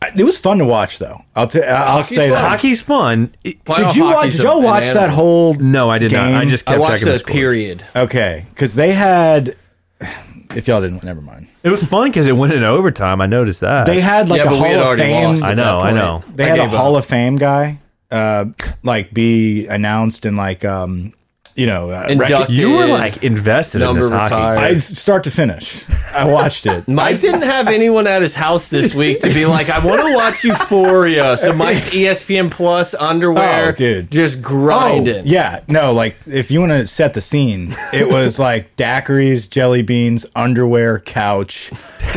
I- It was fun to watch, though. I'll t- I'll
Hockey's
say
fun.
that.
Hockey's fun. It-
Did you watch? Did y'all watch that whole?
No, I did not. I
Game.
just
I
kept
watched
checking the
the
score.
period.
Okay, because they had. If y'all didn't, never mind.
It was fun because it went in overtime. I noticed that.
They had like
Yeah,
a
but we had
Hall of
already
Fame.
lost.
I know, I know.
They
I
had a
gave up.
Hall of Fame guy, uh, like be announced and like um, you know, uh, rec-
Inducted.
You were like invested in
Number
this hockey.
retired.
I start to finish. I watched it.
Mike didn't have anyone at his house this week to be like, I want to watch Euphoria. So Mike's E ESPN Plus underwear,
Oh, dude.
just
Oh,
grinding.
yeah, no, like if you want to set the scene, it was like daiquiris, jelly beans, underwear, couch,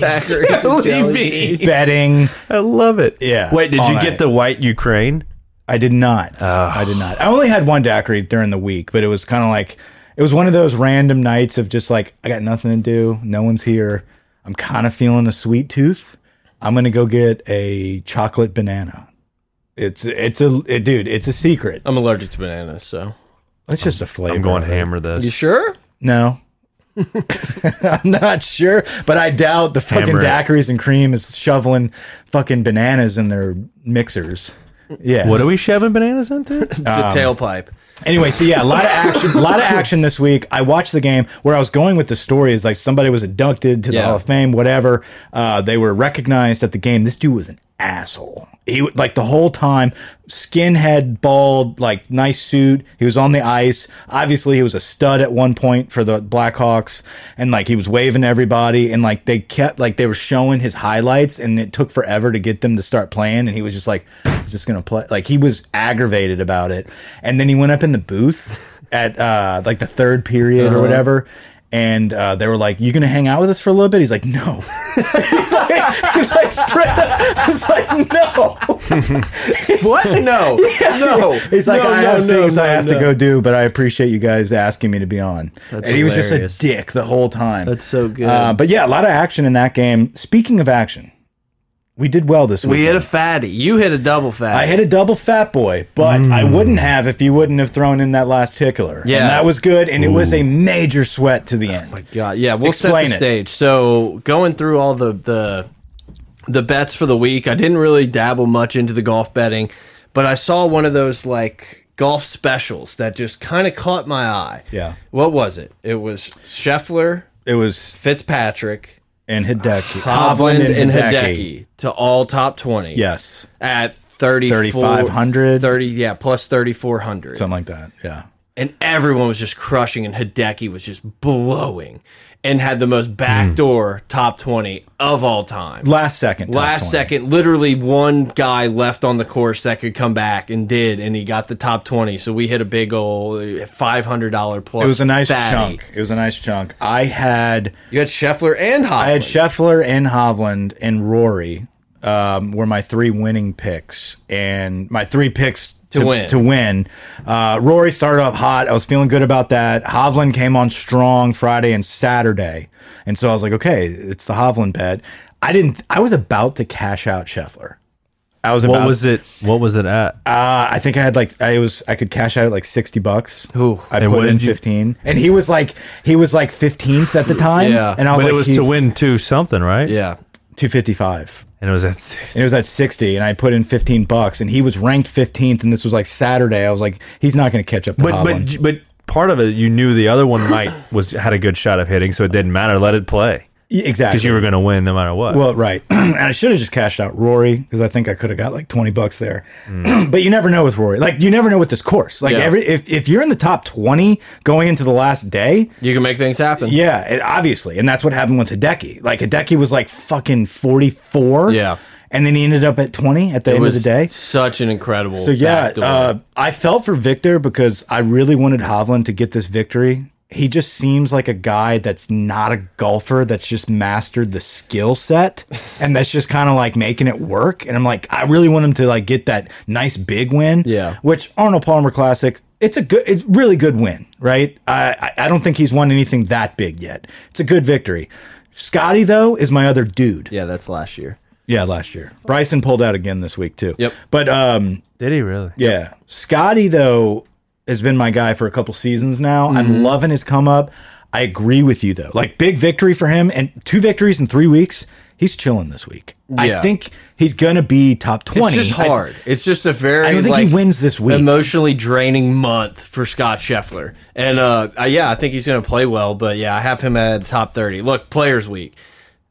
Zachary,
Jelly
Jelly
beans.
bedding.
I love it.
Yeah,
Wait, did
all
you
night.
get the white Ukraine?
I did not. I did not. I only had one daiquiri during the week, but it was kind of like it was one of those random nights of just like I got nothing to do, no one's here. I'm kind of feeling a sweet tooth. I'm gonna go get a chocolate banana. It's it's a it, dude. It's a secret.
I'm allergic to bananas, so.
It's just a flavor.
Oh, I'm going
of it.
hammer this.
You sure?
No. I'm not sure, but I doubt the fucking
Hammer it.
daiquiris and cream is shoveling fucking bananas in their mixers. Yeah.
What are we shoving bananas into?
The
Um,
tailpipe.
Anyway, so yeah, a lot of action, a lot of action this week. I watched the game. Where I was going with the story is like somebody was inducted to the
Yeah.
Hall of Fame, whatever. Uh, they were recognized at the game. This dude was an asshole. He w- like the whole time, skinhead, bald, like nice suit. He was on the ice. Obviously, he was a stud at one point for the Blackhawks, and like he was waving to everybody. And like they kept like they were showing his highlights, and it took forever to get them to start playing. And he was just like, "Is this gonna play?" Like he was aggravated about it. And then he went up in the booth at uh like the third
Uh-huh.
period or whatever. And uh, they were like, "You gonna hang out with us for a little bit?" He's like, "No." like straight up, it's like no.
What? No. No.
He's like,
No,
I
no,
have
no,
things I
no,
have to
no."
go do, but I appreciate you guys asking me to be on.
That's
and he was just a
hilarious.
dick the whole time.
That's so good.
Uh, but yeah, a lot of action in that game. Speaking of action, we did well this week.
we hit a fatty. You hit a double fatty.
I hit a double fat boy, but I wouldn't have if you wouldn't have thrown in that last tickler.
Mm. Yeah.
and that was good, and it was a major sweat to
Oh
the end.
God, yeah, we'll
Explain
set the
it.
stage. So going through all the the the bets for the week, I didn't really dabble much into the golf betting, but I saw one of those like golf specials that just kind of caught my eye.
Yeah.
what was it? It was Scheffler,
It was
Fitzpatrick,
and Hideki,
Hovland, and Hideki to all top twenty.
Yes,
at. 30
3,500.
30 yeah plus 3400
something like that. Yeah,
and everyone was just crushing, and Hideki was just blowing, and had the most backdoor top twenty of all time.
last second, top
Last
20.
second, literally one guy left on the course that could come back and did, and he got the top twenty. So we hit a big old five hundred dollar plus.
It was a nice
fatty.
chunk. It was a nice chunk. I had
You had Scheffler and Hopkins.
I had Scheffler and Hovland and Rory um, were my three winning picks and my three picks to,
win.
To win, uh, Rory started off hot. I was feeling good about that. Hovland came on strong Friday and Saturday, and so I was like, okay, it's the Hovland bet. I didn't. I was about to cash out Scheffler. I was
What
about.
was it? What was it at?
Uh, I think I had like I was I could cash out at like sixty bucks.
Ooh.
I
And what
put in
did you-
fifteen, and he was like he was like fifteenth at the time.
Yeah.
and I was
But
like
it was to win two something, right?
yeah,
two fifty five.
And it was at six.
And it was at 60 and I put in 15 bucks and he was ranked 15th and this was like Saturday. I was like, he's not going to catch up to
But
Hovland.
but but part of it, you knew the other one might was had a good shot of hitting, so it didn't matter. Let it play
Yeah, exactly.
because you were going to win no matter what.
well, right. and I should have just cashed out Rory because I think I could have got like 20 bucks there. but you never know with Rory. Like you never know with this course. Like
Mm. Yeah.
every if, if you're in the top 20 going into the last day,
you can make things happen.
yeah, it, obviously. And that's what happened with Hideki. Like Hideki was like fucking 44.
Yeah.
And then he ended up at 20 at the
it
end
was
of the day.
such an incredible.
So yeah,
backdoor.
uh, I felt for Victor because I really wanted Hovland to get this victory. He just seems like a guy that's not a golfer that's just mastered the skill set and that's just kind of like making it work. And I'm like, I really want him to like get that nice big win.
Yeah.
Which Arnold Palmer Classic, it's a good, it's really good win, right? I I I don't think he's won anything that big yet. It's a good victory. Scotty though is my other dude.
yeah, that's last year.
Yeah, last year. Bryson pulled out again this week too.
Yep.
But um.
Did he really?
Yeah. Scotty, though, has been my guy for a couple seasons now.
Mm-hmm.
I'm loving his come up. I agree with you, though. Like, big victory for him and two victories in three weeks. He's chilling this week. I
Yeah.
think he's going to be top 20.
It's just
I-
hard. it's just a very.
I don't think he
like,
wins this week.
Emotionally draining month for Scott Scheffler, and uh, uh, yeah, I think he's going to play well. But yeah, I have him at top thirty. Look, Players Week,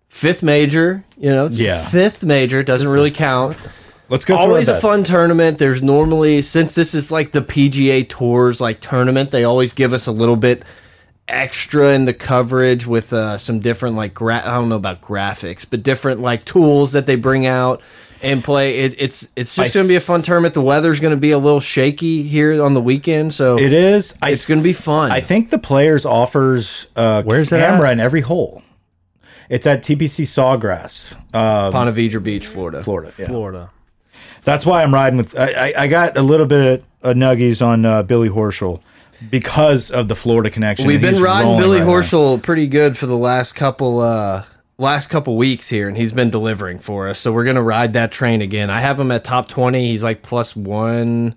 fifth major. You know, it's
Yeah.
fifth major doesn't really count.
let's go through our
Always a
bets.
fun tournament. There's normally since this is like the PGA Tours like tournament, they always give us a little bit extra in the coverage with uh, some different like gra I don't know about graphics, but different like tools that they bring out and play. It, it's it's just going to be a fun tournament. The weather's going to be a little shaky here on the weekend, so
It is. I
it's going to be fun.
I think the players offers uh,
Where's that
camera
at?
in every hole. It's at TPC Sawgrass, uh,
Ponte Vedra Beach, Florida.
Florida. Yeah.
Florida.
That's why I'm riding with. I, I, I got a little bit of nuggies on uh, Billy Horschel because of the Florida connection.
We've
and
been
he's
riding
rolling
Billy
right now.
Horschel pretty good for the last couple uh last couple weeks here, and he's been delivering for us. So we're gonna ride that train again. I have him at top twenty. He's like plus one.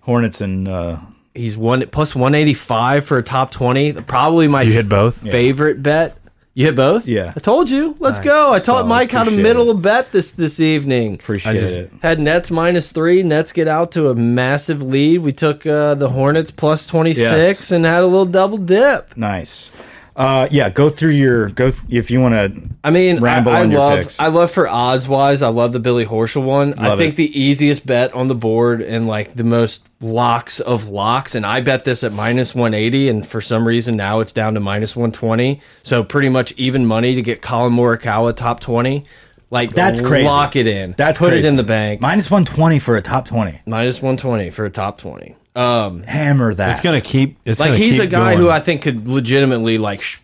Hornets and uh,
He's one plus one eighty five for a top twenty. Probably my
You hit both?
favorite bet. You hit both.
Yeah.
I told you. Let's go. I taught
So,
Mike how to
appreciate
middle a bet this this evening.
appreciate
just-
it.
Had Nets minus three. Nets get out to a massive lead. We took uh, the Hornets plus twenty six
Yes.
and had a little double dip.
Nice. Uh, yeah, go through your go th if you want to.
I mean, I,
Ramble
I
on your
love,
picks.
I love for odds wise, I love the Billy Horschel one. I
Love
think
it.
the easiest bet on the board and like the most locks of locks, and I bet this at minus one eighty, and for some reason now it's down to minus one twenty. So pretty much even money to get Colin Morikawa top twenty. Like
That's crazy.
Lock it in.
That's
put it
crazy.
in the bank.
Minus one twenty for a top twenty.
Minus one twenty for a top twenty. Um,
Hammer that.
It's going to keep. It's
like
gonna
he's
keep
a guy
going.
who I think could legitimately like. Sh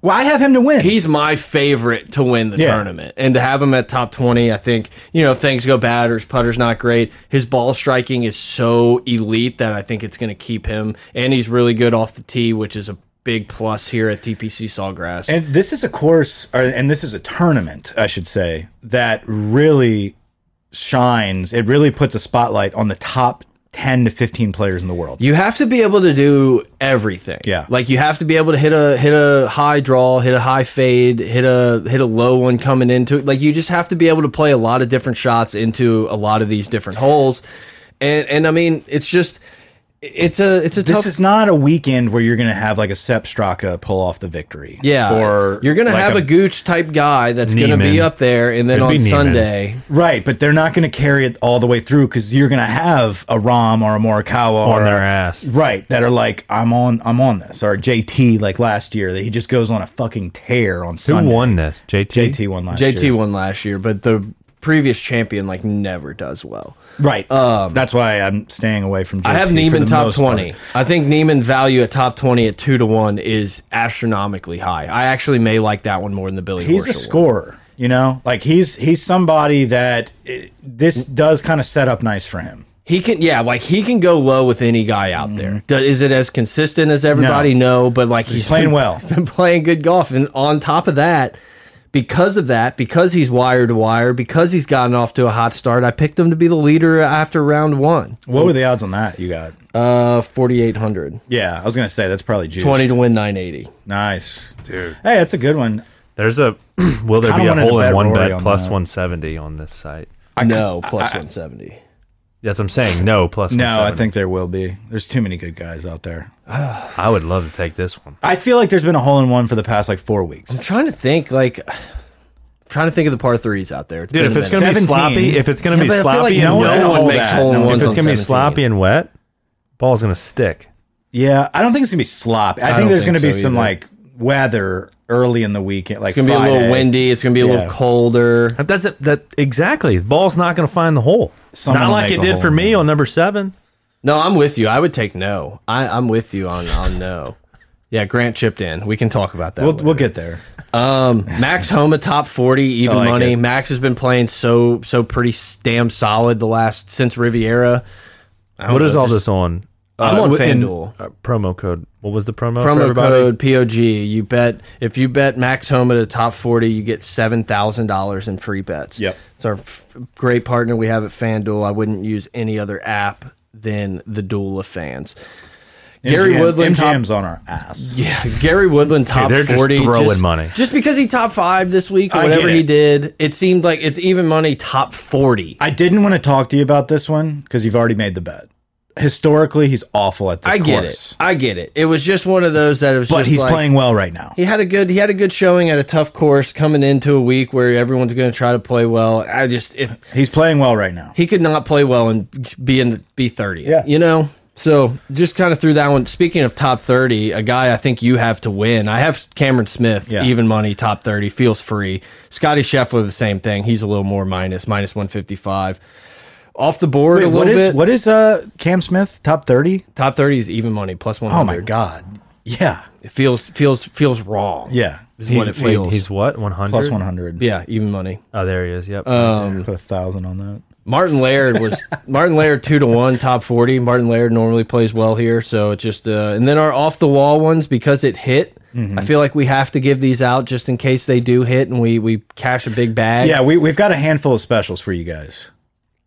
Well, I have him to win.
he's my favorite to win the
Yeah.
tournament and to have him at top 20 i think you know if things go bad or his putter's not great his ball striking is so elite that i think it's going to keep him and he's really good off the tee which is a big plus here at tpc sawgrass
And this is a course, or, and this is a tournament, I should say, that really shines. It really puts a spotlight on the top 10 to 15 players in the world.
you have to be able to do everything.
Yeah.
Like you have to be able to hit a hit a high draw, hit a high fade, hit a hit a low one coming into it. Like you just have to be able to play a lot of different shots into a lot of these different holes. And and I mean, it's just it's a it's a
This
tough
is not a weekend where you're going to have like a Sep Straka pull off the victory.
yeah,
Or
you're gonna
like
have a, Gooch type guy that's gonna be
Neiman.
up there, and then
Could
on
be Neiman.
Sunday,
Right, but they're not going to carry it all the way through because you're going to have a Rom or a Morikawa
on
or
their
a-
ass.
right that are like I'm on I'm on this or JT like last year that he just goes on a fucking tear on
Who
Sunday.
won this? JT.
JT won last
JT
year.
won last year, but the previous champion like never does well.
Right, that's why I'm staying away from. JT
Um, I have
for the
Neiman top
most part.
twenty. I think Neiman value at top twenty at two to one is astronomically high. I actually may like that one more than the Billy.
He's a
Horschel one.
scorer, you know. Like he's he's somebody that eh, this does kind of set up nice for him.
He can, yeah, like he can go low with any guy out there. Do- Is it as consistent as everybody? No, but like he's,
playing
been-
well.
been playing good golf, and on top of that, because of that, because he's wire to wire, because he's gotten off to a hot start, I picked him to be the leader after round one.
What were the odds on that? You got?
Uh, forty eight hundred.
Yeah, I was gonna say that's probably juiced.
Twenty to win nine eighty.
Nice, dude. Hey, that's a good one.
There's a will there
Kinda
be a
wanted to
hole
bet
in one
Rory
bet
on
plus
that.
170 on this site?
No, plus one seventy.
That's what I'm saying. No plus.
No, I
170.
think there will be. There's too many good guys out there.
I would love to take this one.
I feel like there's been a hole in one for the past like four weeks.
I'm trying to think, like, I'm trying to think of the par threes out there. It's
Dude,
been
if
a
it's
minute.
gonna
17.
be sloppy, if it's gonna
Yeah,
be
but I feel
sloppy,
like
and
no one's
wet-
gonna
one
hold
makes
that.
hole in
No, if
ones
if
on
it's gonna be
17.
sloppy and wet, ball's gonna stick.
Yeah, I don't think it's gonna be sloppy. I,
don't
think there's
think
gonna be
so
some
either.
like weather early in the weekend. Like
it's gonna be a little windy. It's gonna be a
Yeah.
little colder.
That doesn't that exactly. The ball's not gonna find the hole.
Someone
not
will
like
make
it
a
did
hole
for
in
me
it.
on number seven.
No, I'm with you. I would take no. I, I'm with you on on no. Yeah, Grant chipped in. We can talk about that.
We'll,
later.
we'll get there.
Um, Max Homa top forty even
I like
money.
it.
Max has been playing so so pretty damn solid the last since Riviera. I don't
What
know,
is all
just
this on?
I'm on
w- in,
FanDuel.
uh, promo code. What was the promo? for
Promo
everybody?
code POG. You bet if you bet Max Homa to top forty, you get seven thousand dollars in free bets.
Yep.
it's our f great partner we have at FanDuel. I wouldn't use any other app than the Duel of Fans. Gary
MGM
Woodland top-
MGM's on our ass.
Yeah, Gary Woodland top
they're just
forty.
throwing money.
just because he top five this week or
I get
whatever he
it.
did. It seemed like it's even money top forty.
I didn't want to talk to you about this one because you've already made the bet. Historically, he's awful at this
I get
course,
it. I get it. It was just one of those that it was.
but
just
he's
like,
playing well right now.
he had a good he had a good showing at a tough course coming into a week where everyone's going to try to play well. I just it,
He's playing well right now.
he could not play well and be in the be thirty.
Yeah.
you know. So just kind of threw that one. Speaking of top thirty, a guy I think you have to win. I have Cameron Smith,
Yeah.
even money, top thirty feels free. Scotty Scheffler the same thing. He's a little more minus minus one fifty five. Off the board a
Wait,
little
what is
bit.
what is uh Cam Smith top thirty?
Top thirty is even money plus one
Oh my
hundred.
god! Yeah,
It feels feels feels wrong.
yeah,
is
He's,
what it
wait,
feels.
he's what? 100?
plus one hundred. Uh, Um,
yeah, even money.
Oh, there he is. Yep.
put a thousand on that.
Martin Laird was Martin Laird two to one top forty. Martin Laird normally plays well here, so it just uh, and then our off the wall ones because it hit.
Mm-hmm.
I feel like we have to give these out just in case they do hit and we we cash a big bag.
Yeah, we we've got a handful of specials for you guys.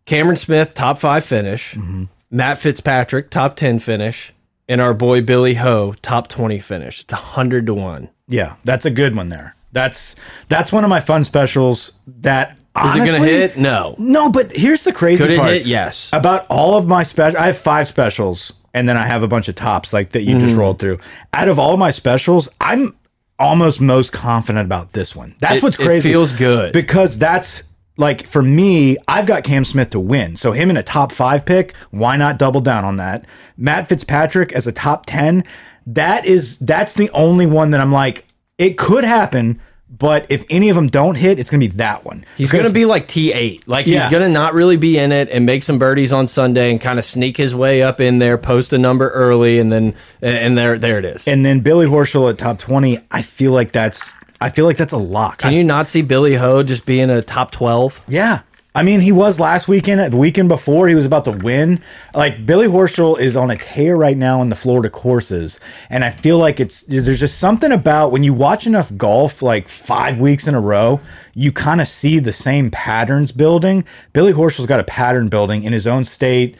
Cameron Smith top five finish.
Mm-hmm.
Matt Fitzpatrick top ten finish, and our boy Billy Ho top twenty finish. It's hundred to one.
Yeah, that's a good one there. That's that's one of my fun specials. That
Is
honestly,
it gonna hit? No.
No, but here's the crazy
Could it
part.
hit? Yes.
About all of my special, I have five specials, and then I have a bunch of tops like that you
Mm.
just rolled through. Out of all my specials, I'm almost most confident about this one. That's
It-
what's
it
crazy.
feels good.
because that's like for me, I've got Cam Smith to win, so him in a top five pick. Why not double down on that? Matt Fitzpatrick as a top ten. That is that's the only one that I'm like it could happen. But if any of them don't hit, it's going to be that one.
He's
Because-
going to be like T8. Like
Yeah.
he's going to not really be in it and make some birdies on Sunday and kind of sneak his way up in there, post a number early, and then and there there it is.
and then Billy Horschel at top twenty. I feel like that's I feel like that's a lock.
Can
I-
you not see Billy Ho just being a top 12?
yeah. I mean, he was last weekend. The weekend before, he was about to win. Like Billy Horschel is on a tear right now in the Florida courses, and I feel like it's there's just something about when you watch enough golf, like five weeks in a row, you kind of see the same patterns building. Billy Horschel's got a pattern building in his own state.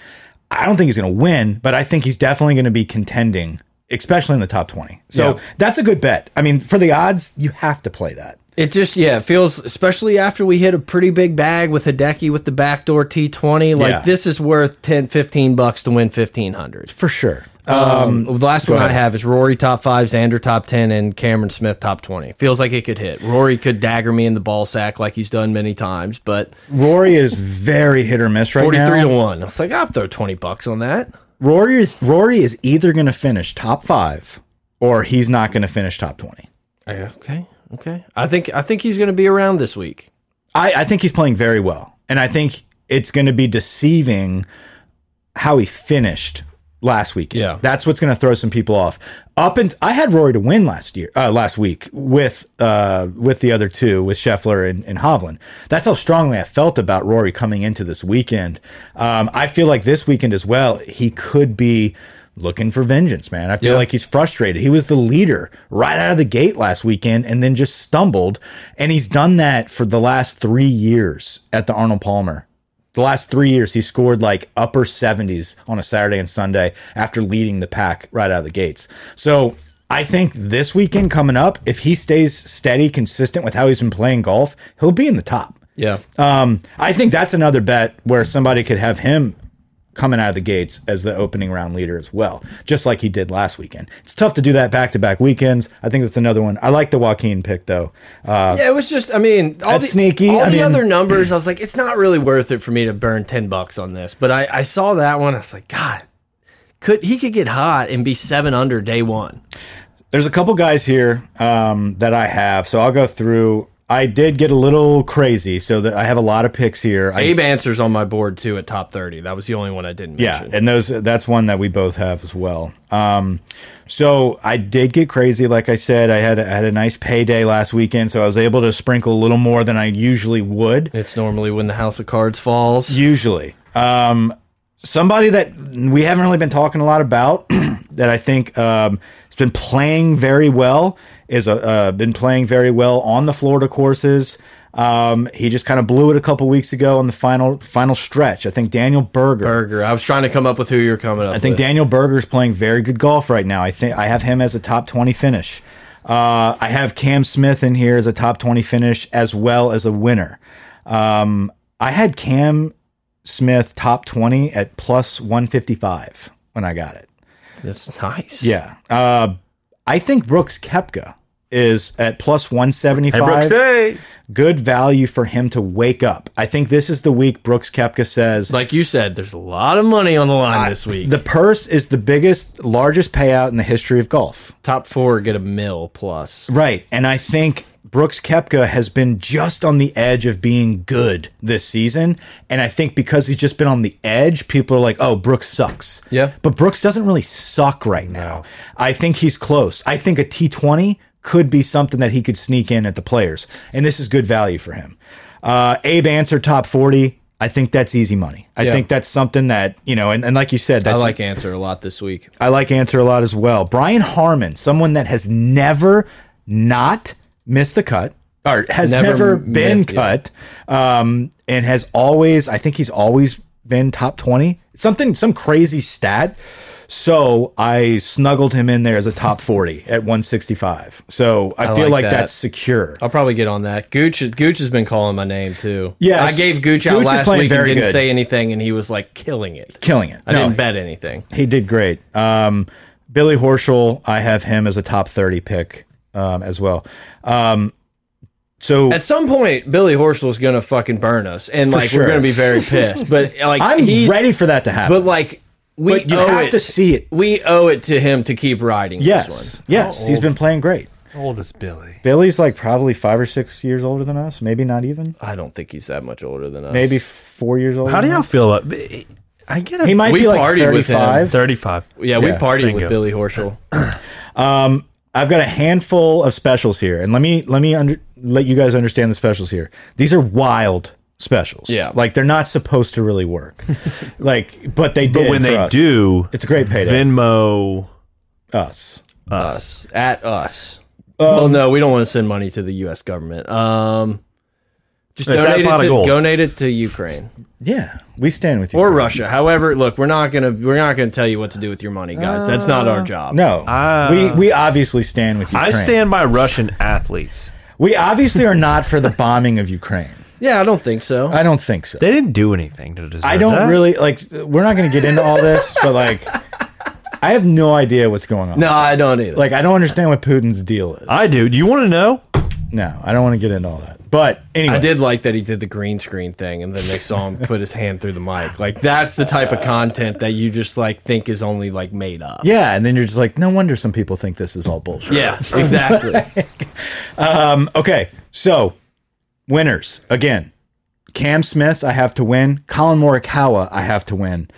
I don't think he's going to win, but I think he's definitely going to be contending, especially in the top twenty. So
Yeah.
that's a good bet. I mean, for the odds, you have to play that.
It just yeah it feels especially after we hit a pretty big bag with Hideki with the backdoor T20 like
Yeah.
this is worth 10 15 bucks to win 1500.
for sure.
Um, the last one I have is Rory top five, Xander top ten, and Cameron Smith top twenty. Feels like it could hit. Rory could dagger me in the ball sack like he's done many times, but
Rory is very hit or miss right
forty three to
now.
one. I was like, I'll throw twenty bucks on that.
Rory is Rory is either going to finish top five or he's not going to finish top twenty.
Okay, okay. I think I think he's going to be around this week.
I, I think he's playing very well, and I think it's going to be deceiving how he finished last week.
Yeah.
that's what's going to throw some people off. Up and I had Rory to win last year, uh, last week with uh, with the other two, with Scheffler and, and Hovland. That's how strongly I felt about Rory coming into this weekend. Um, I feel like this weekend as well, he could be looking for vengeance, man. I feel
Yeah.
like he's frustrated. He was the leader right out of the gate last weekend and then just stumbled. And he's done that for the last three years at the Arnold Palmer. The last three years, he scored like upper 70s on a Saturday and Sunday after leading the pack right out of the gates. So I think this weekend coming up, if he stays steady, consistent with how he's been playing golf, he'll be in the top.
Yeah,
Um, I think that's another bet where somebody could have him coming out of the gates as the opening round leader as well, just like he did last weekend. It's tough to do that back to back weekends. I think that's another one. I like the Joaquin pick though. Uh,
yeah. It was just I mean all
That's
the
sneaky.
all
I
the
mean-
other numbers. I was like, it's not really worth it for me to burn ten bucks on this. But I I saw that one. I was like, God, could he could get hot and be seven under day one?
There's a couple guys here um, that I have, so I'll go through. I did get a little crazy, so that I have a lot of picks here. I,
Abe Answer's on my board too at top 30. That was the only one I didn't
yeah,
mention.
and those that's one that we both have as well. Um, so I did get crazy, like I said. I had I had a nice payday last weekend, so I was able to sprinkle a little more than I usually would.
It's normally when the House of Cards falls.
Usually. Um, somebody that we haven't really been talking a lot about that I think um, has been playing very well is a, uh, been playing very well on the Florida courses. Um, he just kind of blew it a couple weeks ago on the final final stretch. I think Daniel Berger.
Burger. I was trying to come up with who you're coming up
I think
with.
Daniel Berger is playing very good golf right now. I think I have him as a top 20 finish. Uh, I have Cam Smith in here as a top 20 finish as well as a winner. Um, I had Cam Smith top 20 at plus 155 when I got it.
That's nice.
Yeah. Uh, I think Brooks Kepka is at plus 175
Brooks, hey.
good value for him to wake up. I think this is the week Brooks Kepka says
Like you said, there's a lot of money on the line this week.
the purse is the biggest largest payout in the history of golf.
top four get a mill plus.
Right. And I think Brooks Kepka has been just on the edge of being good this season. And I think because he's just been on the edge, people are like, oh, Brooks sucks.
Yeah.
But Brooks doesn't really suck right now. I think he's close. I think a T20 could be something that he could sneak in at the players. And this is good value for him. Uh, Abe Answer, top 40. I think that's easy money. I
Yeah.
think that's something that, you know, and, and like you said,
I
that's
like answer a lot this week.
I like answer a lot as well. Brian Harmon, someone that has never not missed the cut or has
Never
never, been
missed, yeah.
cut, um, and has always, I think he's always been top 20, something, some crazy stat. So I snuggled him in there as a top 40 at 165. So I, feel like
like that. Oh,
that's secure.
I'll probably get on that. Gooch Gooch has been calling my name too.
Yes.
I gave Gooch,
Gooch
out
is
last
playing
week and
very
didn't
good.
say anything and he was like killing it.
Killing it.
I
No,
didn't bet anything.
He did great. Um, Billy Horschel, I have him as a top 30 pick um, as well. Um, so
At some point, Billy Horschel's gonna fucking burn us, and like we're
sure.
gonna be very pissed. But like
I'm
he's
ready for that to happen.
But like we
But you
owe
have
it
to see oh, it.
We owe it to him to keep riding.
yes,
this one.
yes, he's been playing great.
old is Billy?
Billy's like probably five or six years older than us, maybe not even,
I don't think he's that much older than us.
maybe four years older.
How do
than
y'all
us.
feel about? I get it.
He might
We
be like
partied with him.
thirty-five.
thirty-five.
Yeah, we
Yeah,
partied
bingo.
with Billy Horschel.
I've got a handful of specials here, and let me let me under, let you guys understand the specials here. These are wild specials.
Yeah.
like they're not supposed to really work. like, but they did.
But when
for
they
us.
do,
it's a great payday.
Venmo
us.
us
us.
at us. well, no, we don't want to send money to the U.S. government. Um, just
It's
donate
that pot
it,
of
to,
gold.
donate it to Ukraine
Yeah, we stand with you.
or Russia. However, look, we're not gonna we're not gonna tell you what to do with your money, guys. That's not our job.
No,
Ah.
we we obviously stand with Ukraine.
I stand by Russian athletes.
We obviously are not for the bombing of Ukraine.
Yeah, I don't think so.
I don't think so.
They didn't do anything to deserve
I don't
that.
really like. We're not going to get into all this, but like, I have no idea what's going on.
no, I don't either.
Like, I don't understand what Putin's deal is.
I do. Do you want to know?
No, I don't want to get into all that. But anyway,
I did like that he did the green screen thing, and then they saw him put his hand through the mic. Like that's the type of content that you just like think is only like made up.
Yeah, and then you're just like, no wonder some people think this is all bullshit.
Yeah, exactly.
Okay, so winners again. Cam Smith, I have to win. Colin Morikawa, I have to win.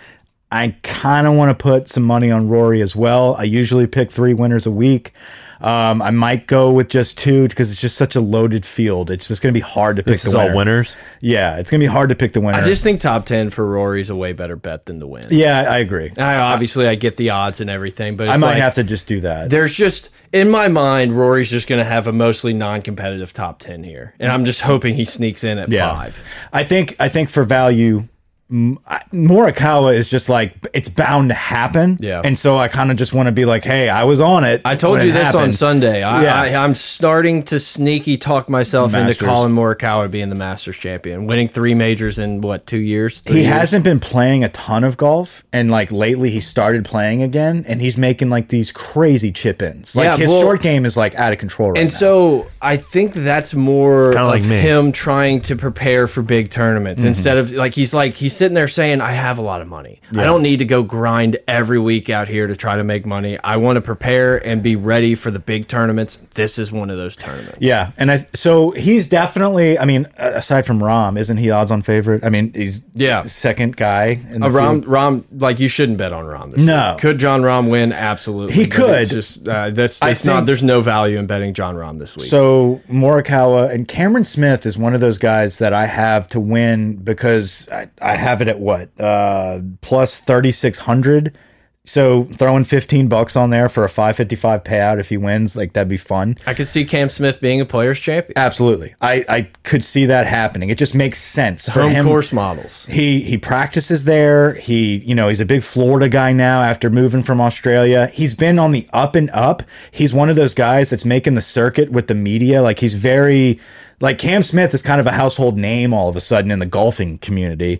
I kind of want to put some money on Rory as well. I usually pick three winners a week. Um, I might go with just two because it's just such a loaded field. It's just going to be hard to pick
This
the
is
winner.
all winners.
Yeah, it's going to be hard to pick the winner.
I just think top ten for Rory's a way better bet than the win.
yeah, I agree.
I obviously I get the odds and everything, but it's
I might
like,
have to just do that.
there's just in my mind, Rory's just going to have a mostly non-competitive top ten here, and I'm just hoping he sneaks in at five.
I think I think for value, m- I- Morikawa is just like it's bound to happen.
Yeah.
and so I kind of just want to be like, hey, I was on it.
I told
when
you
it
this on
happened.
Sunday. I,
Yeah.
I, I'm starting to sneaky talk myself into
Masters.
Colin Morikawa being the Masters champion, winning three majors in what two years? Three
He
years?
hasn't been playing a ton of golf, and like lately, he started playing again, and he's making like these crazy chip ins. Like
Yeah,
his
well-
short game is like out of control right
And
now.
so I think that's more
kinda
of
like me.
him trying to prepare for big tournaments
Mm-hmm.
instead of like he's like he's sitting there saying I have a lot of money. I don't need to go grind every week out here to try to make money. I want to prepare and be ready for the big tournaments. This is one of those tournaments.
Yeah, and I so he's definitely. I mean, a- aside from Rom, isn't he odds on favorite? I mean, he's
Yeah.
second guy. In the
Uh, Rom,
field.
Rom, like you shouldn't bet on Rom. This
No.
week. could John Rom win? Absolutely,
He
but
could.
It's just uh, that's it's not.
think-
There's no value in betting John Rom this week.
So Morikawa and Cameron Smith is one of those guys that I have to win because I, I have it at what uh, plus thirty six hundred. So throwing fifteen bucks on there for a five fifty five payout if he wins, like that'd be fun.
I could see Cam Smith being a players champion.
Absolutely, I I could see that happening. It just makes sense for
Home
him.
course models.
He he practices there. He you know he's a big Florida guy now after moving from Australia. He's been on the up and up. He's one of those guys that's making the circuit with the media. Like he's very like Cam Smith is kind of a household name all of a sudden in the golfing community.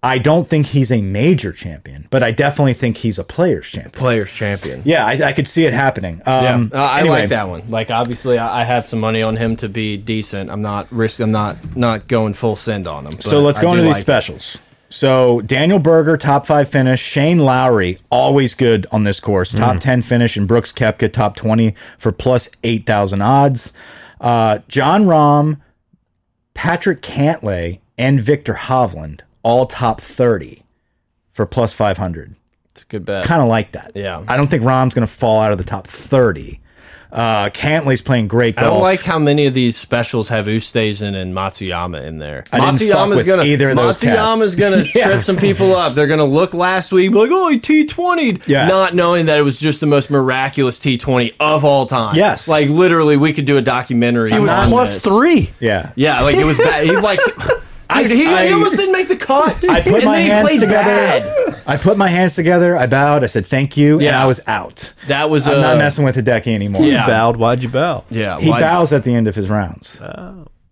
I don't think he's a major champion, but I definitely think he's a players champion.
Players champion.
Yeah, I, I could see it happening. Um,
Uh, I
anyway.
like that one. Like obviously, I, I have some money on him to be decent. I'm not risk. I'm not not going full send on him.
So let's go into these
special.
specials. So Daniel Berger, top five finish. Shane Lowry, always good on this
Hmm.
course. Top ten finish, and Brooks Kepka, top twenty for plus eight thousand odds. Uh, John Rahm, Patrick Cantlay, and Victor Hovland, all top thirty for plus five hundred.
Good bet.
Kind of like that.
Yeah.
I don't think Rahm's going to fall out of the top thirty. Uh, Cantley's playing great golf.
I don't like how many of these specials have Ustazen and Matsuyama in there.
didn't fuck
Matsuyama's
with
gonna
either of those cats.
Matsuyama's gonna
Yeah.
trip some people up. They're gonna look last week be like, oh, he T twenty,
Yeah.
not knowing that it was just the most miraculous T twenty of all time.
Yes.
like literally, we could do a documentary. He
was
Plus three.
Yeah.
Yeah, like it was bad. He like. Dude, he, he
I-
almost didn't make the cut.
I put
And
my
then he
hands
played
together.
bad.
I put my hands together. I bowed. I said thank you, and
Yeah.
I was out.
That was
I'm
a
not messing with Hideki anymore.
Yeah.
Bowed. Why'd you bow?
yeah.
He
why- Oh.
bows at the end of his rounds.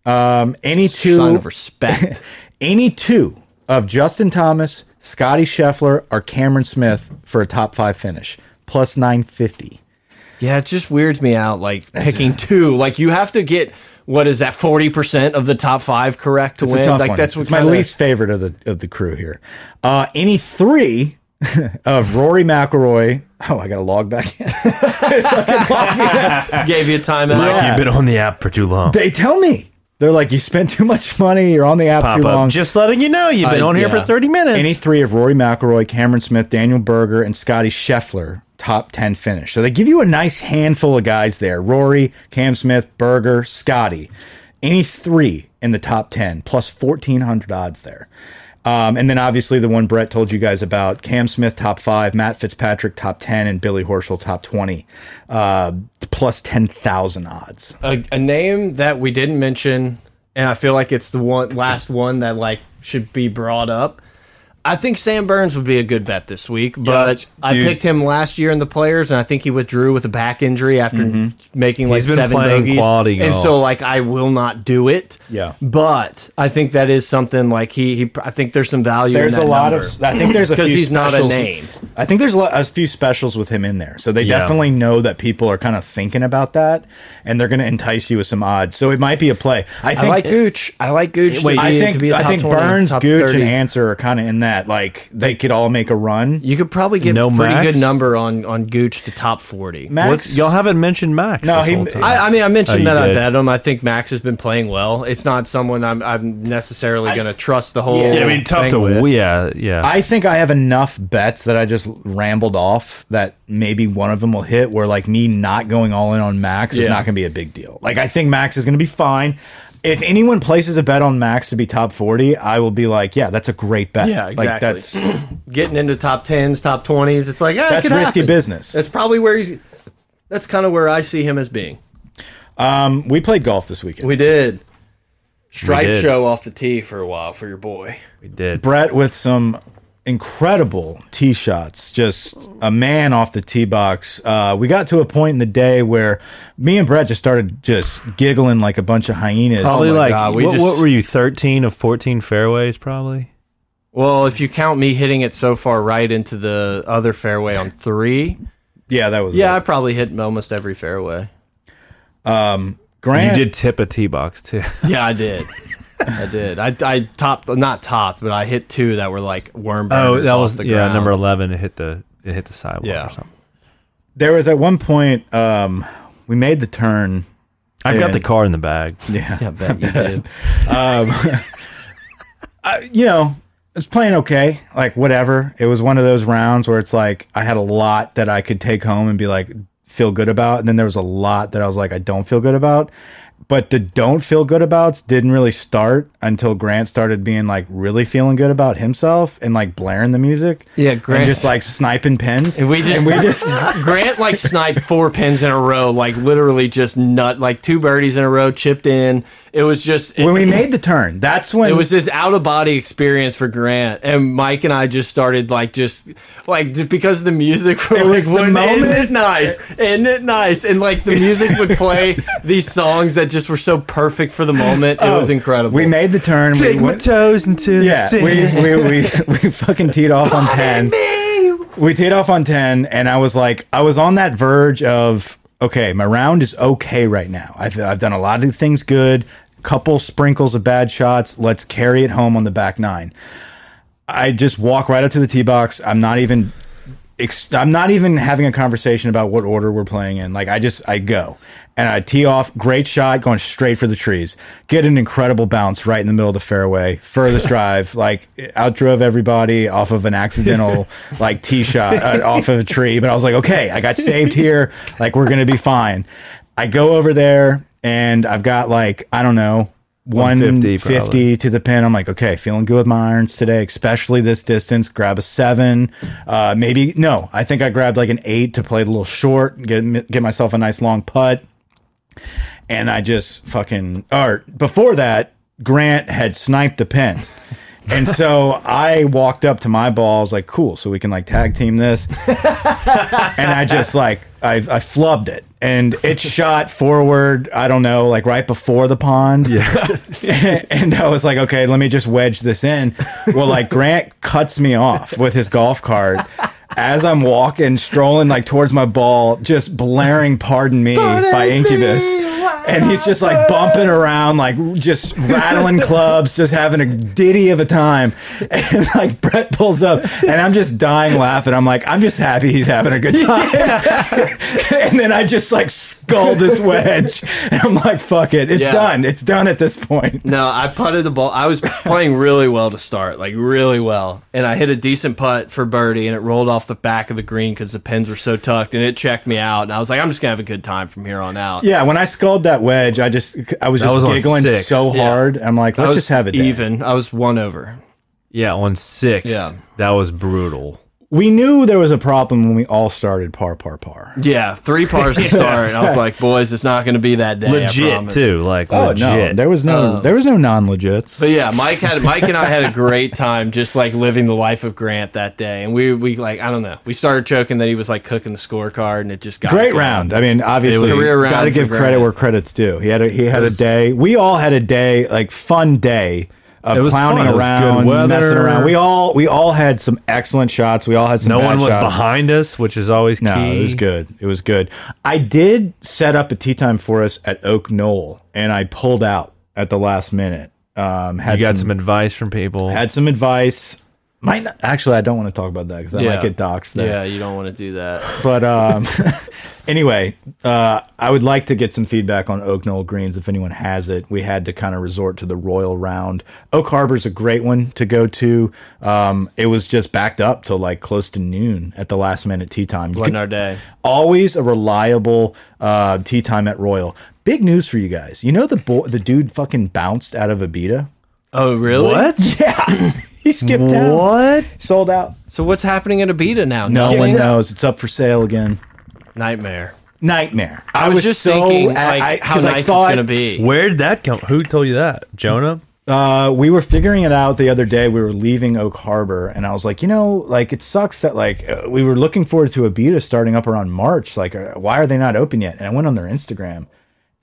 Um, any
sign
two,
of respect.
any two of Justin Thomas, Scotty Scheffler, or Cameron Smith for a top five finish plus nine fifty.
Yeah, it just weirds me out. Like picking two, like you have to get what is that forty percent of the top five correct to
It's
win.
a tough
like
one.
that's what
it's my
kinda-
least favorite of the of the crew here. Uh, any three of Rory McIlroy. Oh, I got to log back in.
Gave you a timeout.
Mike,
Yeah.
you've been on the app for too long.
They tell me they're like, you spent too much money. You're on the app
Pop
too long.
up. Just letting you know, you've been
I-
on here
yeah.
for 30 minutes.
Any three of Rory McIlroy, Cameron Smith, Daniel Berger, and Scotty Scheffler top ten finish. So they give you a nice handful of guys there: Rory, Cam Smith, Berger, Scotty. Any three in the top ten plus fourteen hundred odds there. Um, and then obviously the one Brett told you guys about Cam Smith top five, Matt Fitzpatrick top ten, and Billy Horschel top twenty, uh, plus ten thousand odds.
a, a name that we didn't mention, and I feel like it's the one last one that like should be brought up. I think Sam Burns would be a good bet this week, but I
dude.
picked him last year in the players, and I think he withdrew with a back injury after
Mm-hmm.
making like
He's been
seven
playing
bogeys.
quality
and
golf.
so like I will not do it.
Yeah.
but I think that is something like he. he I think there's some value.
There's
in
a
that
lot
number.
of. I think there's a
'Cause
few
he's not a
specials-
name.
I think there's a, lot, a few specials with him in there, so they
Yeah.
definitely know that people are kind of thinking about that, and they're going to entice you with some odds. So it might be a play. I think.
I like Gooch. I like Gooch.
Wait,
to be,
I
to
think.
be a
I
top
think
20,
Burns,
top
Gooch,
30.
and Answer are kind of in that. Like they could all make a run.
You could probably get
No
a pretty
Max?
good number on on Gooch to top forty.
Max,
What's, y'all haven't mentioned Max.
No,
this
he-
whole time.
I, I mean, I
Oh,
mentioned
you
that I
did.
bet him. I think Max has been playing well. It's not someone I'm, I'm necessarily going to trust the whole.
Yeah,
I mean, tough
thing
to.
with.
Yeah, yeah.
I think I have enough bets that I just rambled off that maybe one of them will hit where like me not going all in on Max is
Yeah.
not going to be a big deal. Like I think Max is going to be fine. If anyone places a bet on Max to be top 40, I will be like, yeah, that's a great bet.
Yeah,
Like
exactly.
that's that's
Getting into top tens, top twenties, it's like ah, it could
risky
happen.
business.
That's probably where he's. That's kind of where I see him as being.
um, we played golf this weekend.
We did stripe
We did.
show off the tee for a while for your boy.
we did.
Brett with some incredible tee shots, just a man off the tee box. Uh, we got to a point in the day where me and Brett just started just giggling like a bunch of hyenas.
Probably
my
like
God, we
what,
just-
what were you? Thirteen of fourteen fairways, probably.
Well, if you count me hitting it so far right into the other fairway on three,
yeah, that was
yeah, I
it.
probably hit almost every fairway.
Grant.
You did tip a tee box too.
Yeah, I did. I did. I, I topped, not topped, but I hit two that were like worm.
oh,
burners
that
off
was
the
yeah.
ground.
Number eleven. It hit the it hit the sidewall
Yeah.
or something.
there was at one point um, we made the turn
I've got
And-
the car in the bag.
I bet you did.
you know it's playing okay like whatever it was one of those rounds where it's like i had a lot that i could take home and be like feel good about and then there was a lot that i was like i don't feel good about but the don't feel good abouts didn't really start until grant started being like really feeling good about himself and like blaring the music
Yeah, Grant-
and just like sniping pins
We just, we just Grant like sniped four pins in a row, like literally just nut, like two birdies in a row, chipped in. It was just
when we made the turn that's when
It was this out of body experience for Grant, and Mike and I just started like just like just because the music. Were,
It was the
like, "Wouldn't- isn't
moment."
it nice? Isn't it nice? And like the music would play these songs that just were so perfect for the moment. It was incredible.
Oh, we made the turn we went,
toes into
Yeah, we, we, we, we fucking teed off on 10. We teed off on 10, and I was like, I was on that verge of, okay, my round is okay right now. I've, I've done a lot of things good, couple sprinkles of bad shots. Let's carry it home on the back nine. I just walk right up to the tee box. I'm not even. ex- I'm not even having a conversation about what order we're playing in. Like I just I go and I tee off, great shot, going straight for the trees. Get an incredible bounce right in the middle of the fairway. Furthest drive, like outdrove everybody off of an accidental like tee shot uh, off of a tree. But I was like, okay, I got saved here. Like we're gonna be fine. I go over there and I've got like I don't know
150
150
probably.
to the pin. I'm like, okay, feeling good with my irons today, especially this distance. Grab a seven, uh, maybe no. I think I grabbed like an eight to play a little short, get get myself a nice long putt, and I just fucking. Or before that, Grant had sniped the pin. And so I walked up to my ball. I was like, cool. So we can like tag team this and I just like I, I flubbed it, and it shot forward. I don't know, like right before the pond. Yeah, and I was like, okay, let me just wedge this in. Well, like Grant cuts me off with his golf cart as I'm walking, strolling like towards my ball, just blaring "Pardon Me" by Incubus. and he's just like bumping around, like just rattling clubs, just having a ditty of a time. And like Brett pulls up, and I'm just dying laughing. I'm like, I'm just happy he's having a good time. and then I just like skull this wedge, and I'm like, fuck it, it's
Yeah.
done, it's done at this point.
No, I putted the ball. I was playing really well to start, like really well, and I hit a decent putt for birdie, and it rolled off the back of the green because the pins were so tucked, and it checked me out. And I was like, I'm just gonna have a good time from here on out.
Yeah, when I sculled that wedge, I just I was
That
just
was on
giggling
six.
so
Yeah.
hard. I'm like,
I
let's
was
just have it.
even. I was one over.
Yeah, on six.
Yeah.
That was brutal.
We knew there was a problem when we all started par par
Oh,
par.
Yeah, three pars to start. and I was like, boys, it's not gonna be that day. I
Legit
promise."
too. Like
Oh no,
legit. Oh.
there was no there was no non legits.
But yeah, Mike had Mike and I had a great time just like living the life of Grant that day. And we we like I don't know. We started choking that he was like cooking the scorecard and it just got
Great
going.
round. I mean, obviously,
was- Career
got to
round
give
for
credit
Grant.
where credit's due. He had a he had a day. We all had a day like fun day
It
of
was
clowning
fun. It was
around,
good weather.
messing around. We all we all had some excellent shots. We all had some.
no
bad
one was
shots.
behind us, which is always
No,
key.
it was good. It was good. I did set up a tea time for us at Oak Knoll, and I pulled out at the last minute. Um, had
You got
some,
some advice from people.
had some advice. Might not, actually, I don't want to talk about that because I
Yeah.
might get doxxed there.
Yeah, you don't want to do that.
But um, anyway, uh, I would like to get some feedback on Oak Knoll Greens if anyone has it. We had to kind of resort to the Royal Round. Oak Harbor's a great one to go to. Um, it was just backed up till like close to noon at the last minute tea time. You
Wasn't
could-
our day.
always a reliable uh, tea time at Royal. Big news for you guys. You know the bo- the dude fucking bounced out of Abita.
Oh really?
What?
He skipped out.
What?
Sold out.
So what's happening at Abita now?
No
Nothing?
one knows. It's up for sale again.
Nightmare.
Nightmare. I,
was just thinking, like, how
'cause
nice it's gonna be.
Where'd that come? Who told you that? Jonah?
Uh, we were figuring it out the other day. We were leaving Oak Harbor, and I was like, you know, like it sucks that like uh, we were looking forward to Abita starting up around March. Like, uh, why are they not open yet? And I went on their Instagram,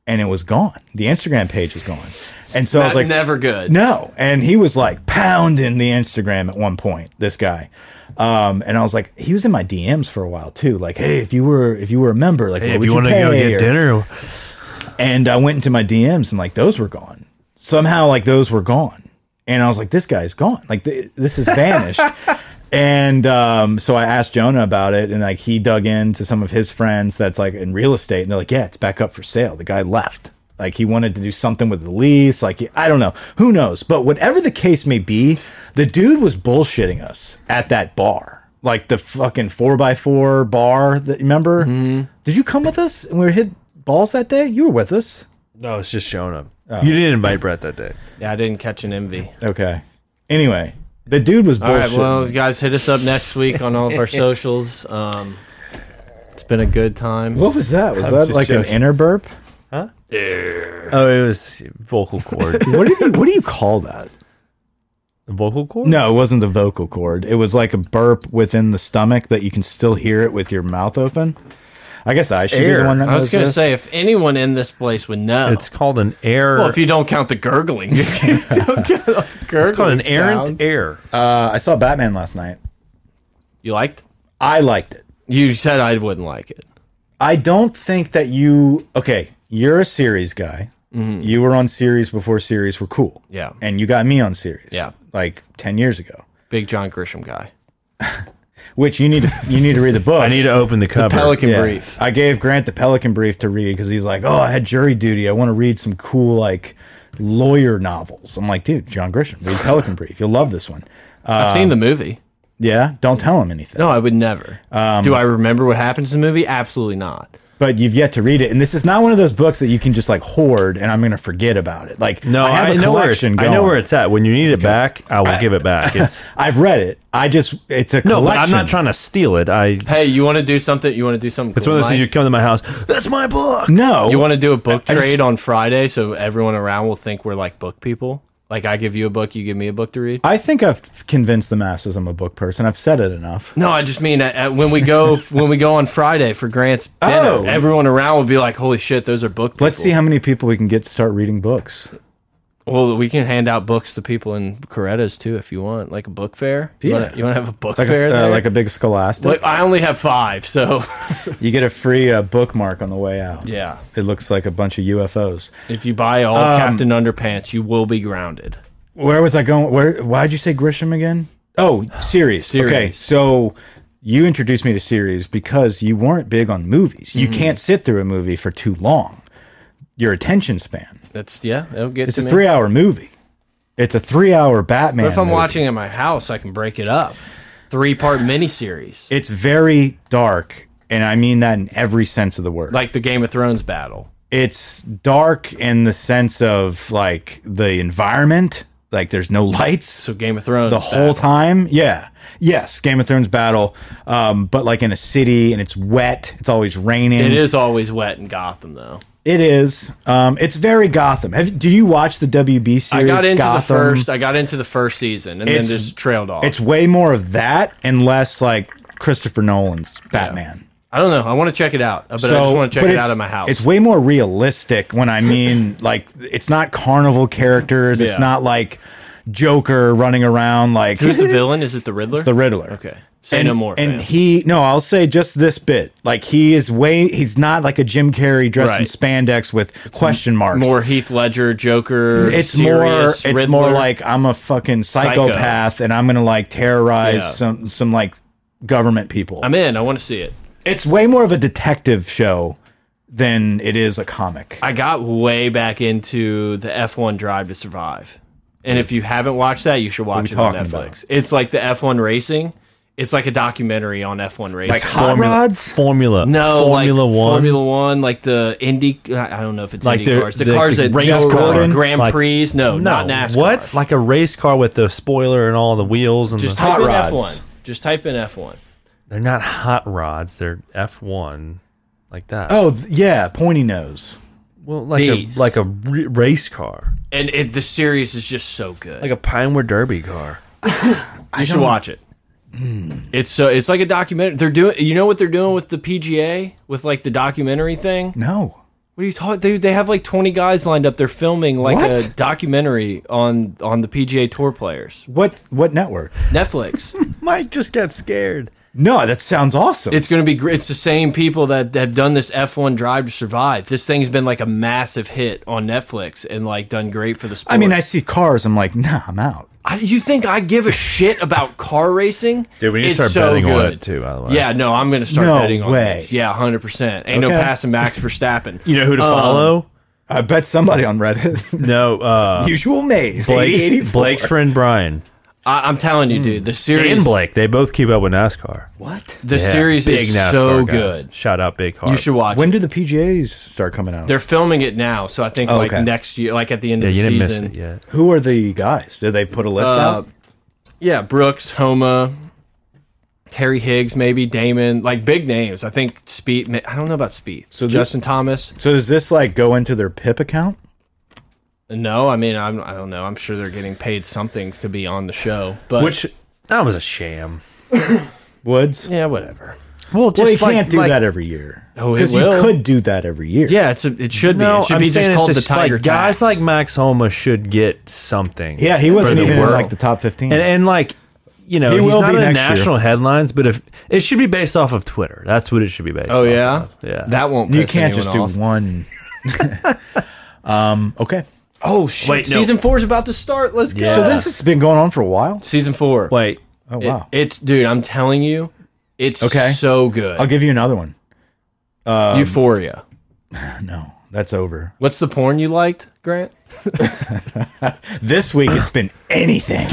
and it was gone. The Instagram page was gone. And so I was
That's
like,
never good.
No, and he was like pounding the Instagram at one point. This guy, um, and I was like, he was in my DMs for a while too. Like, hey, if you were if you were a member, like, what
if
would
you
you,
want to
pay?
go get
Or-
dinner,
And I went into my DMs and like those were gone. Somehow, like those were gone, and I was like, this guy's gone. Like th this has vanished. And um, so I asked Jonah about it, and like he dug into some of his friends that's like in real estate, and they're like, "Yeah, it's back up for sale." The guy left, like he wanted to do something with the lease. Like I don't know, who knows? But whatever the case may be, the dude was bullshitting us at that bar, like the fucking four by four bar. That remember? Did you come with us? And we were hit balls that day. You were with us.
no, it's just Jonah. You didn't invite Brett that day.
Yeah, I didn't catch an envy.
Okay. Anyway, the dude was
All right,
bullshitting.
well, guys, hit us up next week on all of our socials. Um, it's been a good time.
what was that? Was that
just
like an
joking.
inner burp?
Oh, it was vocal cord.
What do you what do you call that?
vocal cord?
No, it wasn't the vocal cord. It was like a burp within the stomach that you can still hear it with your mouth open. I guess I should be
air.
the one that
I was
knows
going to
this.
say, if anyone in this place would know,
It's called an air.
well, if you don't count the gurgling, if you don't count the gurgling
it's called an errant
sounds.
air.
Uh, I saw Batman last night.
You liked?
I liked it.
You said I wouldn't like it.
I don't think that you okay. You're a series guy. You were on series before series were cool.
Mm-hmm. Yeah.
and you got me on series.
Yeah.
like ten years ago.
Big John Grisham guy.
Which you need to you need to read the book.
I need to open the cover.
Pelican
Yeah.
Brief.
I gave Grant the Pelican Brief to read because he's like, oh, I had jury duty. I want to read some cool like lawyer novels. I'm like, dude, John Grisham, read Pelican Brief. You'll love this one.
I've
um,
seen the movie.
Yeah, don't tell him anything.
No, I would never.
um,
Do I remember what happens in the movie? Absolutely not.
But you've yet to read it, and this is not one of those books that you can just like hoard and I'm going to forget about it. Like,
no,
I have
I,
a
know where it's,
collection.
I know
going.
where it's at. When you need it back, I will give it back. It's
I've read it. I just it's a
no,
collection.
but I'm not trying to steal it. I.
Hey, you want to do something? You want to do something?
It's one of those things you come to my house. That's my book.
No,
You want to do a book
I just-
trade on Friday so everyone around will think we're like book people? Like I give you a book, you give me a book to read?
I think I've convinced the masses I'm a book person. I've said it enough.
No, I just mean at, at- when we go when we go on Friday for Grant's dinner,
Oh.
everyone around will be like, "Holy shit, those are book people."
Let's see how many people we can get to start reading books.
Well, we can hand out books to people in Corettas too if you want, like a book fair. You
Yeah.
want to have a book
Like
fair?
a, uh,
there?
like a big scholastic.
Like, I only have five, so
You get a free uh, bookmark on the way out.
yeah.
It looks like a bunch of UFOs.
If you buy all
Um,
Captain Underpants, you will be grounded.
Where was I going? Where? Why'd you say Grisham again? Oh, series. Okay,
Series.
so you introduced me to series because you weren't big on movies. You
Mm-hmm.
can't sit through a movie for too long. Your attention span.
That's yeah. It'll get
It's
to
a
me.
three-hour movie. It's a three-hour Batman.
But if I'm
movie.
watching at my house, I can break it up. Three part miniseries,
it's very dark, and I mean that in every sense of the word.
like the Game of Thrones battle.
it's dark in the sense of like the environment. Like there's no lights.
So Game of Thrones
the whole
battle.
time. Yeah. Yes, Game of Thrones battle, um, but like in a city and it's wet. It's always raining.
It is always wet in Gotham, though.
It is. Um, it's very Gotham. Have, do you watch the WB series?
I got into
Gotham?
the first. I got into the first season, and then
It's-
just trailed off.
It's way more of that and less like Christopher Nolan's Batman.
I don't know. I want to check it out, uh, but I just want to check
but
it
it's-
out at my house.
It's way more realistic when I mean like it's not carnival characters. It's
Yeah.
not like Joker running around like
Who's the villain? Is it the Riddler?
the Riddler.
Okay. Say no more.
And
fam.
he, no, I'll say just this bit. Like he is way, he's not like a Jim Carrey dressed in
Right.
spandex with question marks.
more Heath Ledger, Joker.
it's more,
serious
it's
Riddler.
more like I'm a fucking
Psycho.
psychopath, and I'm gonna like terrorize
Yeah.
some some like government people.
I'm in. I want to see it.
it's way more of a detective show than it is a comic.
I got way back into the F1 Drive to Survive, and if you haven't watched that, you should watch it on
talking about?
Netflix. It's like the F1 racing. It's like a documentary on F1 racing.
Like hot rods.
Formula.
no,
Formula
like
One.
Formula One, like the Indy. I don't know if it's
Like
Indy
the-
cars. The,
the-
cars
the
that
race
Joe
car.
Rogan, Grand
Like-
Prix. No, not NASCAR.
What? Like a race car with the spoiler and all the wheels and
Just
the,
type
Hot
in
rods.
F1. Just type in F1.
they're not hot rods. They're F one, like that.
Oh th- yeah, pointy nose.
well, like
these.
a like a re- race car,
and it, the series is just so good.
like a Pinewood Derby car.
you should watch it. It's so it's like a documentary. They're doing. You know what they're doing with the PGA with like the documentary thing.
No,
What are you talking? They they have like twenty guys lined up. They're filming like a
What?
documentary on on the PGA Tour players.
what what network?
Netflix.
Mike just got scared.
No, that sounds awesome.
it's gonna be. gr- It's the same people that have done this F one Drive to Survive. This thing's been like a massive hit on Netflix and like done great for the sport.
I mean, I see cars. I'm like, nah, I'm out.
I, you think I give a shit about car racing?
Dude, we need to
It's
start
so
betting on
good.
it, too, by the way.
yeah, no, I'm going to start
No
betting on
way.
this. Yeah, 100. percent Ain't no
Okay.
passing Max Verstappen.
You know who to
Um,
follow?
I bet somebody on Reddit.
No, uh,
Usual maze. 80,
Blake's,
84.
Blake's friend Brian
I, I'm telling you, dude, the series,
Mm. and Blake. They both keep up with NASCAR.
What?
the
Yeah,
series
big
is
NASCAR
so
guys.
good.
Shout out Big Heart.
You should watch.
When
it.
do the PGAs start coming out?
They're filming it now, so I think
Oh,
like
okay.
next year, like at the end
yeah,
of the
you didn't miss
season.
it yet.
Who are the guys? Did they put a list
Uh,
out?
yeah, Brooks, Homa, Harry Higgs, maybe Damon, like big names. I think Speed. I don't know about Speed. So
the-
Justin Thomas.
So does this like go into their PIP account?
No, I mean I'm, I don't know. I'm sure they're getting paid something to be on the show, but
Which that was a sham.
Woods?
yeah, whatever.
Well, just
Well, you
like-
can't do
like-
that every year.
Oh, it
you
will.
could do that every year.
Yeah, it's a, it should be.
No,
It should
I'm
be just
saying
called
it's
the
just like,
Tiger
Guys
Tax.
like Max Homa should get something.
Yeah, he
for
wasn't
the
even in
world.
like the top 15.
and and like you know
He
he's
will
not
be
in
next year.
national headlines, but if it should be based off of Twitter, that's what it should be based.
oh
off
yeah,
of. yeah.
That won't.
you
piss
can't
anyone
just do
off.
one. um, okay.
Oh shit!
Wait, no.
Season four is about to start. Let's go.
Yeah.
So this has been going on for a while.
season four.
wait,
Oh
It-
wow.
it's dude. I'm telling you, it's
Okay.
so good.
I'll give you another one. Um,
Euphoria.
No, that's over.
What's the porn you liked, Grant?
This week it's been anything.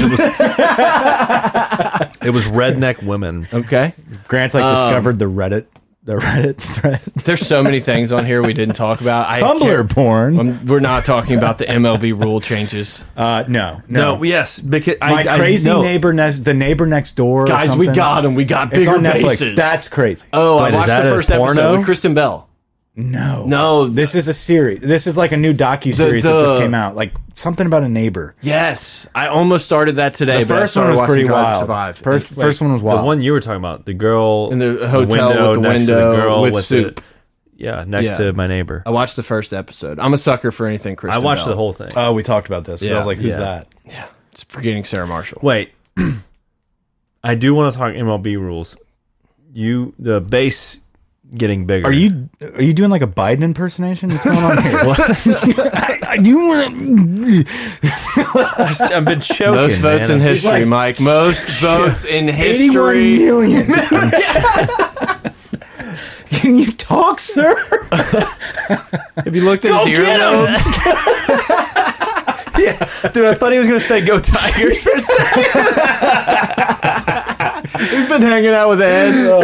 it was redneck women.
Okay.
Grant's like discovered the Reddit the Reddit thread.
There's so many things on here we didn't talk about. I
Tumblr
can't- Um,
porn.
I'm- We're not talking about the MLB rule changes.
Uh, no, no.
No, yes, because
My
I,
crazy
I, no.
neighbor next, the neighbor next door. or
Guys, we
something.
got them. We got
It's
bigger
on Netflix.
bases.
That's crazy.
oh,
Wait,
I
is
watched
that
the
a
first episode
porno?
with Kristen Bell.
no,
No,
This is a series. This is like a new docu series that
the-
just came out. Like something about a neighbor.
Yes, I almost started that today.
The
but I
first one
started
was
watching
pretty
Drive to
wild.
Survive.
First,
And-
first one was
The
wild.
one you were talking about, the girl
In the hotel with the
next to
window with soup.
The, Yeah, next
Yeah.
to my neighbor.
I watched the first episode. I'm a sucker for anything Kristen
I watched
Bell.
the whole thing.
Oh, we talked about this. 'cause I was
Yeah,
like, who's
yeah.
that?
It's forgetting Sarah Marshall.
Wait, I do want to talk MLB rules. You the base getting bigger.
Are you are you doing like a Biden impersonation? What's going on here? I, I do want
I've been choking.
Most votes
man.
in history,
like-
Mike. Most votes in
eighty-one
history.
million. Can you talk, sir?
Have you looked at his
get
earlobes?
Yeah, dude, I thought he was gonna say "Go Tigers" for a second.
He's been hanging out with Ed.
Oh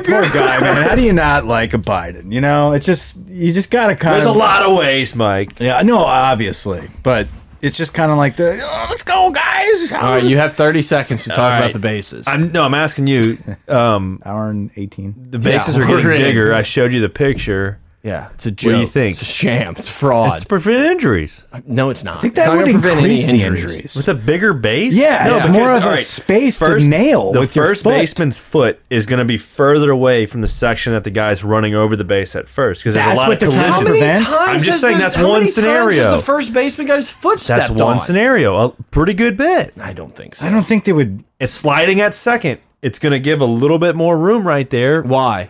God, poor guy, man. How do you not like a Biden? You know, it's just you just gotta kind
There's a
of
lot of ways, Mike.
Yeah, no, obviously, but it's just kind of like the oh, let's go, guys.
All right, you have 30 seconds to talk
All
about
right.
the bases.
I'm no, I'm asking you. Um,
Hour and eighteen.
the bases
Yeah,
are
we're in.
getting bigger. I showed you the picture.
yeah, it's a joke.
do you think?
It's a sham. It's fraud.
It's to prevent injuries
no, it's not.
I think
It's
that
not
would
gonna prevent any
increase the injuries.
with a bigger base.
Yeah, it's
because-
more of a
all right,
space to nail
The
with your
first
foot.
baseman's foot is going to be further away from the section that the guy's running over the base at first because there's a
That's
lot
what they're
of
trying to
collisions.
prevent.
I'm just
has
saying
the-
that's
how
one
many times has
scenario.
the first baseman got his foot stepped
That's one
on?
scenario, a pretty good bit.
I don't think so.
I don't think they would.
It's sliding at second. It's going to give a little bit more room right there.
Why?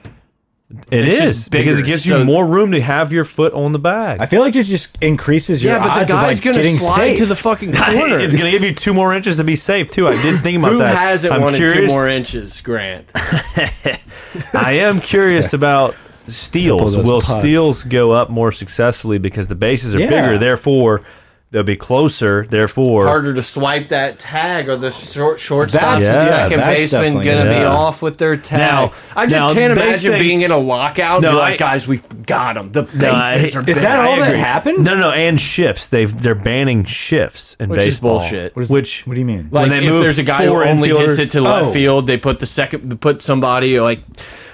It
It's just
is because
bigger,
it gives
so-
you more room to have your foot on the bag.
I feel like it just increases your
Yeah, but the
odds of
guy's
like
gonna
getting
slide
safe.
to the fucking corner.
It's going to give you two more inches to be safe too. I didn't think about
Who
that.
hasn't
I'm
wanted two
curious-
more inches, Grant?
I am curious about
Couple of
steals.
those
Will
putts.
steals go up more successfully because the bases are
Yeah.
bigger? Therefore, they'll be closer. Therefore,
Harder to swipe that tag, or the short shortstop,
That's-
yeah,
second
that's
baseman
definitely-
gonna be
yeah.
off with their tag.
Now-
I just
now
can't
they
imagine
say-
being in a lockout. No,
No,
like,
I-
guys, we got them. The
No, I-
bases are
is
big.
Is that
I
all that
agree.
happened?
no, no, and shifts. They've they're banning shifts in
Which is
baseball.
bullshit. What
What is-
which
What do you mean?
Like
they
if
move
there's a guy who
four
only
infielders-
hits it to left
Oh.
field, they put the second, they put somebody like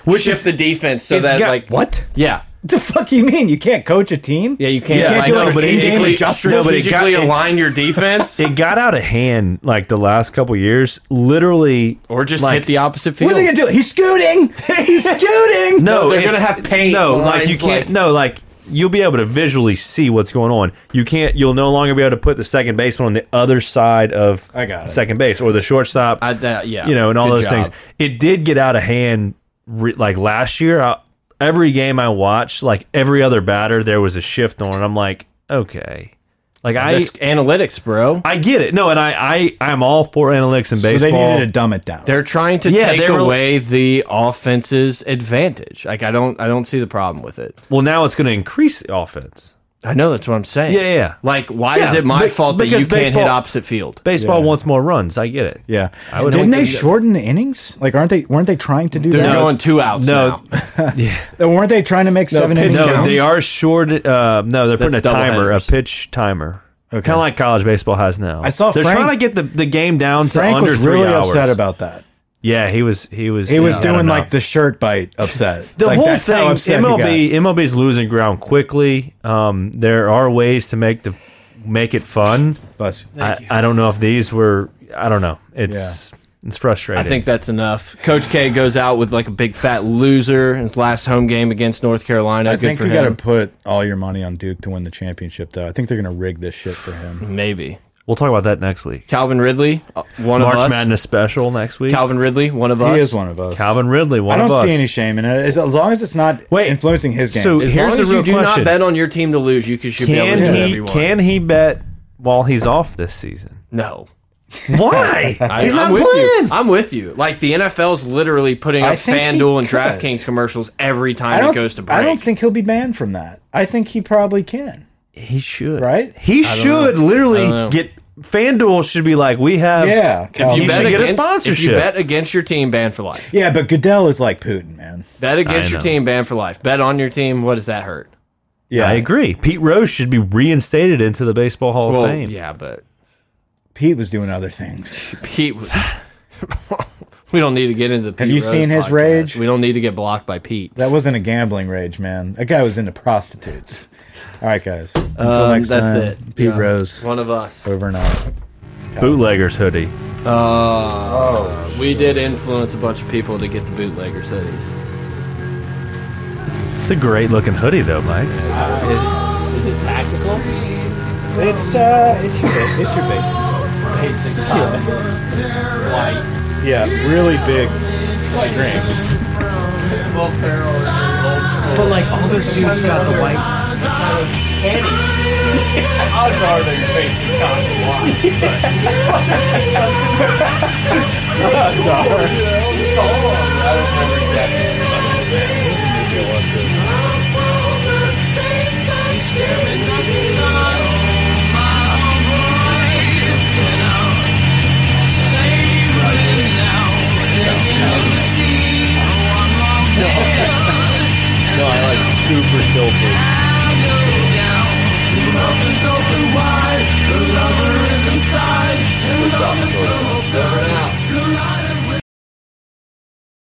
Which
shift
is-
the defense so
it's
that
got-
like
what?
Yeah,
What the fuck you mean? You can't coach a team?
yeah, you can't.
You can't
like,
do like a
strategically-
game
strategically
adjustment.
No, but it got- it-
align your defense,
it got out of hand like the last couple years. Literally,
or just
like,
hit the opposite field.
what are they gonna do? He's scooting. He's scooting.
No,
they're
it's-
gonna have paint
No, like
lines,
you can't.
like-
no, like you'll be able to visually see what's going on. You can't. You'll no longer be able to put the second baseman on the other side of
I got it.
second base or the shortstop.
I, that, yeah,
you know, and all
Good
those
job.
things. It did get out of hand. Re- like last year, I, every game I watched, like every other batter, there was a shift on. And I'm like, okay, like I.
That's analytics, bro.
I get it. No, and I, I, I'm all for analytics in
So
baseball.
they needed to dumb it down.
They're trying to
Yeah,
take
they were-
away the offense's advantage. Like I don't, I don't see the problem with it.
well, now it's going to increase the offense.
I know that's what I'm saying.
Yeah, yeah, yeah.
Like, why is
Yeah,
it my
be-
fault that you
because
can't hit
baseball-
opposite field?
Baseball
Yeah.
wants more runs. I get it.
yeah.
I would
Didn't
hope
they
they-
shorten the innings? Like, aren't they? Weren't they trying to do
They're
that?
going two outs
No.
now.
Weren't they trying to make seven
pitch
innings
No,
counts?
they are short. Uh, no, they're putting
That's
a timer,
doubleheaders.
a pitch timer.
Okay.
Kind of like college baseball has now.
I saw
they're
Frank-
trying to get the, the game down to
Frank
under
was
three
really
hours.
upset about that.
yeah, he was. He was.
He was
yeah, I don't
doing
know.
like the shirt bite upset.
the
Like,
whole
that's
thing.
how upset he
MLB
got.
MLB's losing ground quickly. Um, there are ways to make the make it fun.
Bless you.
I, I don't know if these were. I don't know. It's it's frustrating.
I think that's enough. Coach K goes out with like a big fat loser in his last home game against North Carolina.
I
Good
think
for
you got to
him.
put all your money on Duke to win the championship, though. I think they're going to rig this shit for him.
Maybe
we'll talk about that next week.
Calvin Ridley, uh, one of
March
us.
Madness special next week.
Calvin Ridley, one of us.
He is one of us.
Calvin Ridley. One
I don't
of us.
see any shame in it as, as long as it's not
Wait,
influencing his game.
so
As
here's
long as
As long as
the
you
real
do not
question.
bet on your team to lose, you could- should be able to
Can
hit
he
everyone.
can he bet while he's off this season?
No.
Why?
I,
he's
am
not
with
playing.
You. I'm with you. Like the NFL's literally putting
I
up
think he
FanDuel and
could.
DraftKings commercials every
I
time
don't,
it goes to break.
I don't think he'll be banned from that. I think he probably can.
He should.
Right?
He should
I
literally
don't know.
get FanDuel should be like, we have
Yeah,
if
Calvin.
you
He
bet
should get a
against, If you
sponsorship.
bet against your team, banned for life.
yeah, but Goodell is like Putin, man.
Bet against
I
your
know.
team, banned for life. Bet on your team. What does that hurt?
Yeah,
I agree. Pete Rose should be reinstated into the baseball hall
Well,
of fame.
yeah, but
Pete was doing other things.
Pete was. we don't need to get into the. Pete
you
Rose
seen his
podcast.
rage?
We don't need to get blocked by Pete.
That wasn't a gambling rage, man. That guy was into prostitutes. All right, guys. Until
Um,
next
that's
time,
it.
Pete
Yeah.
Rose,
One of us.
over and out.
Bootleggers hoodie.
Oh.
Uh, we did influence a bunch of people to get the bootlegger cities.
It's a great looking hoodie though, Mike.
Is it tactical? It's uh, it's your base. It's your base. Basic top. White. Yeah, really big strings.
But like all those dudes got the white.
Odds are there's basic top white. Odds are. No, I like super tilted.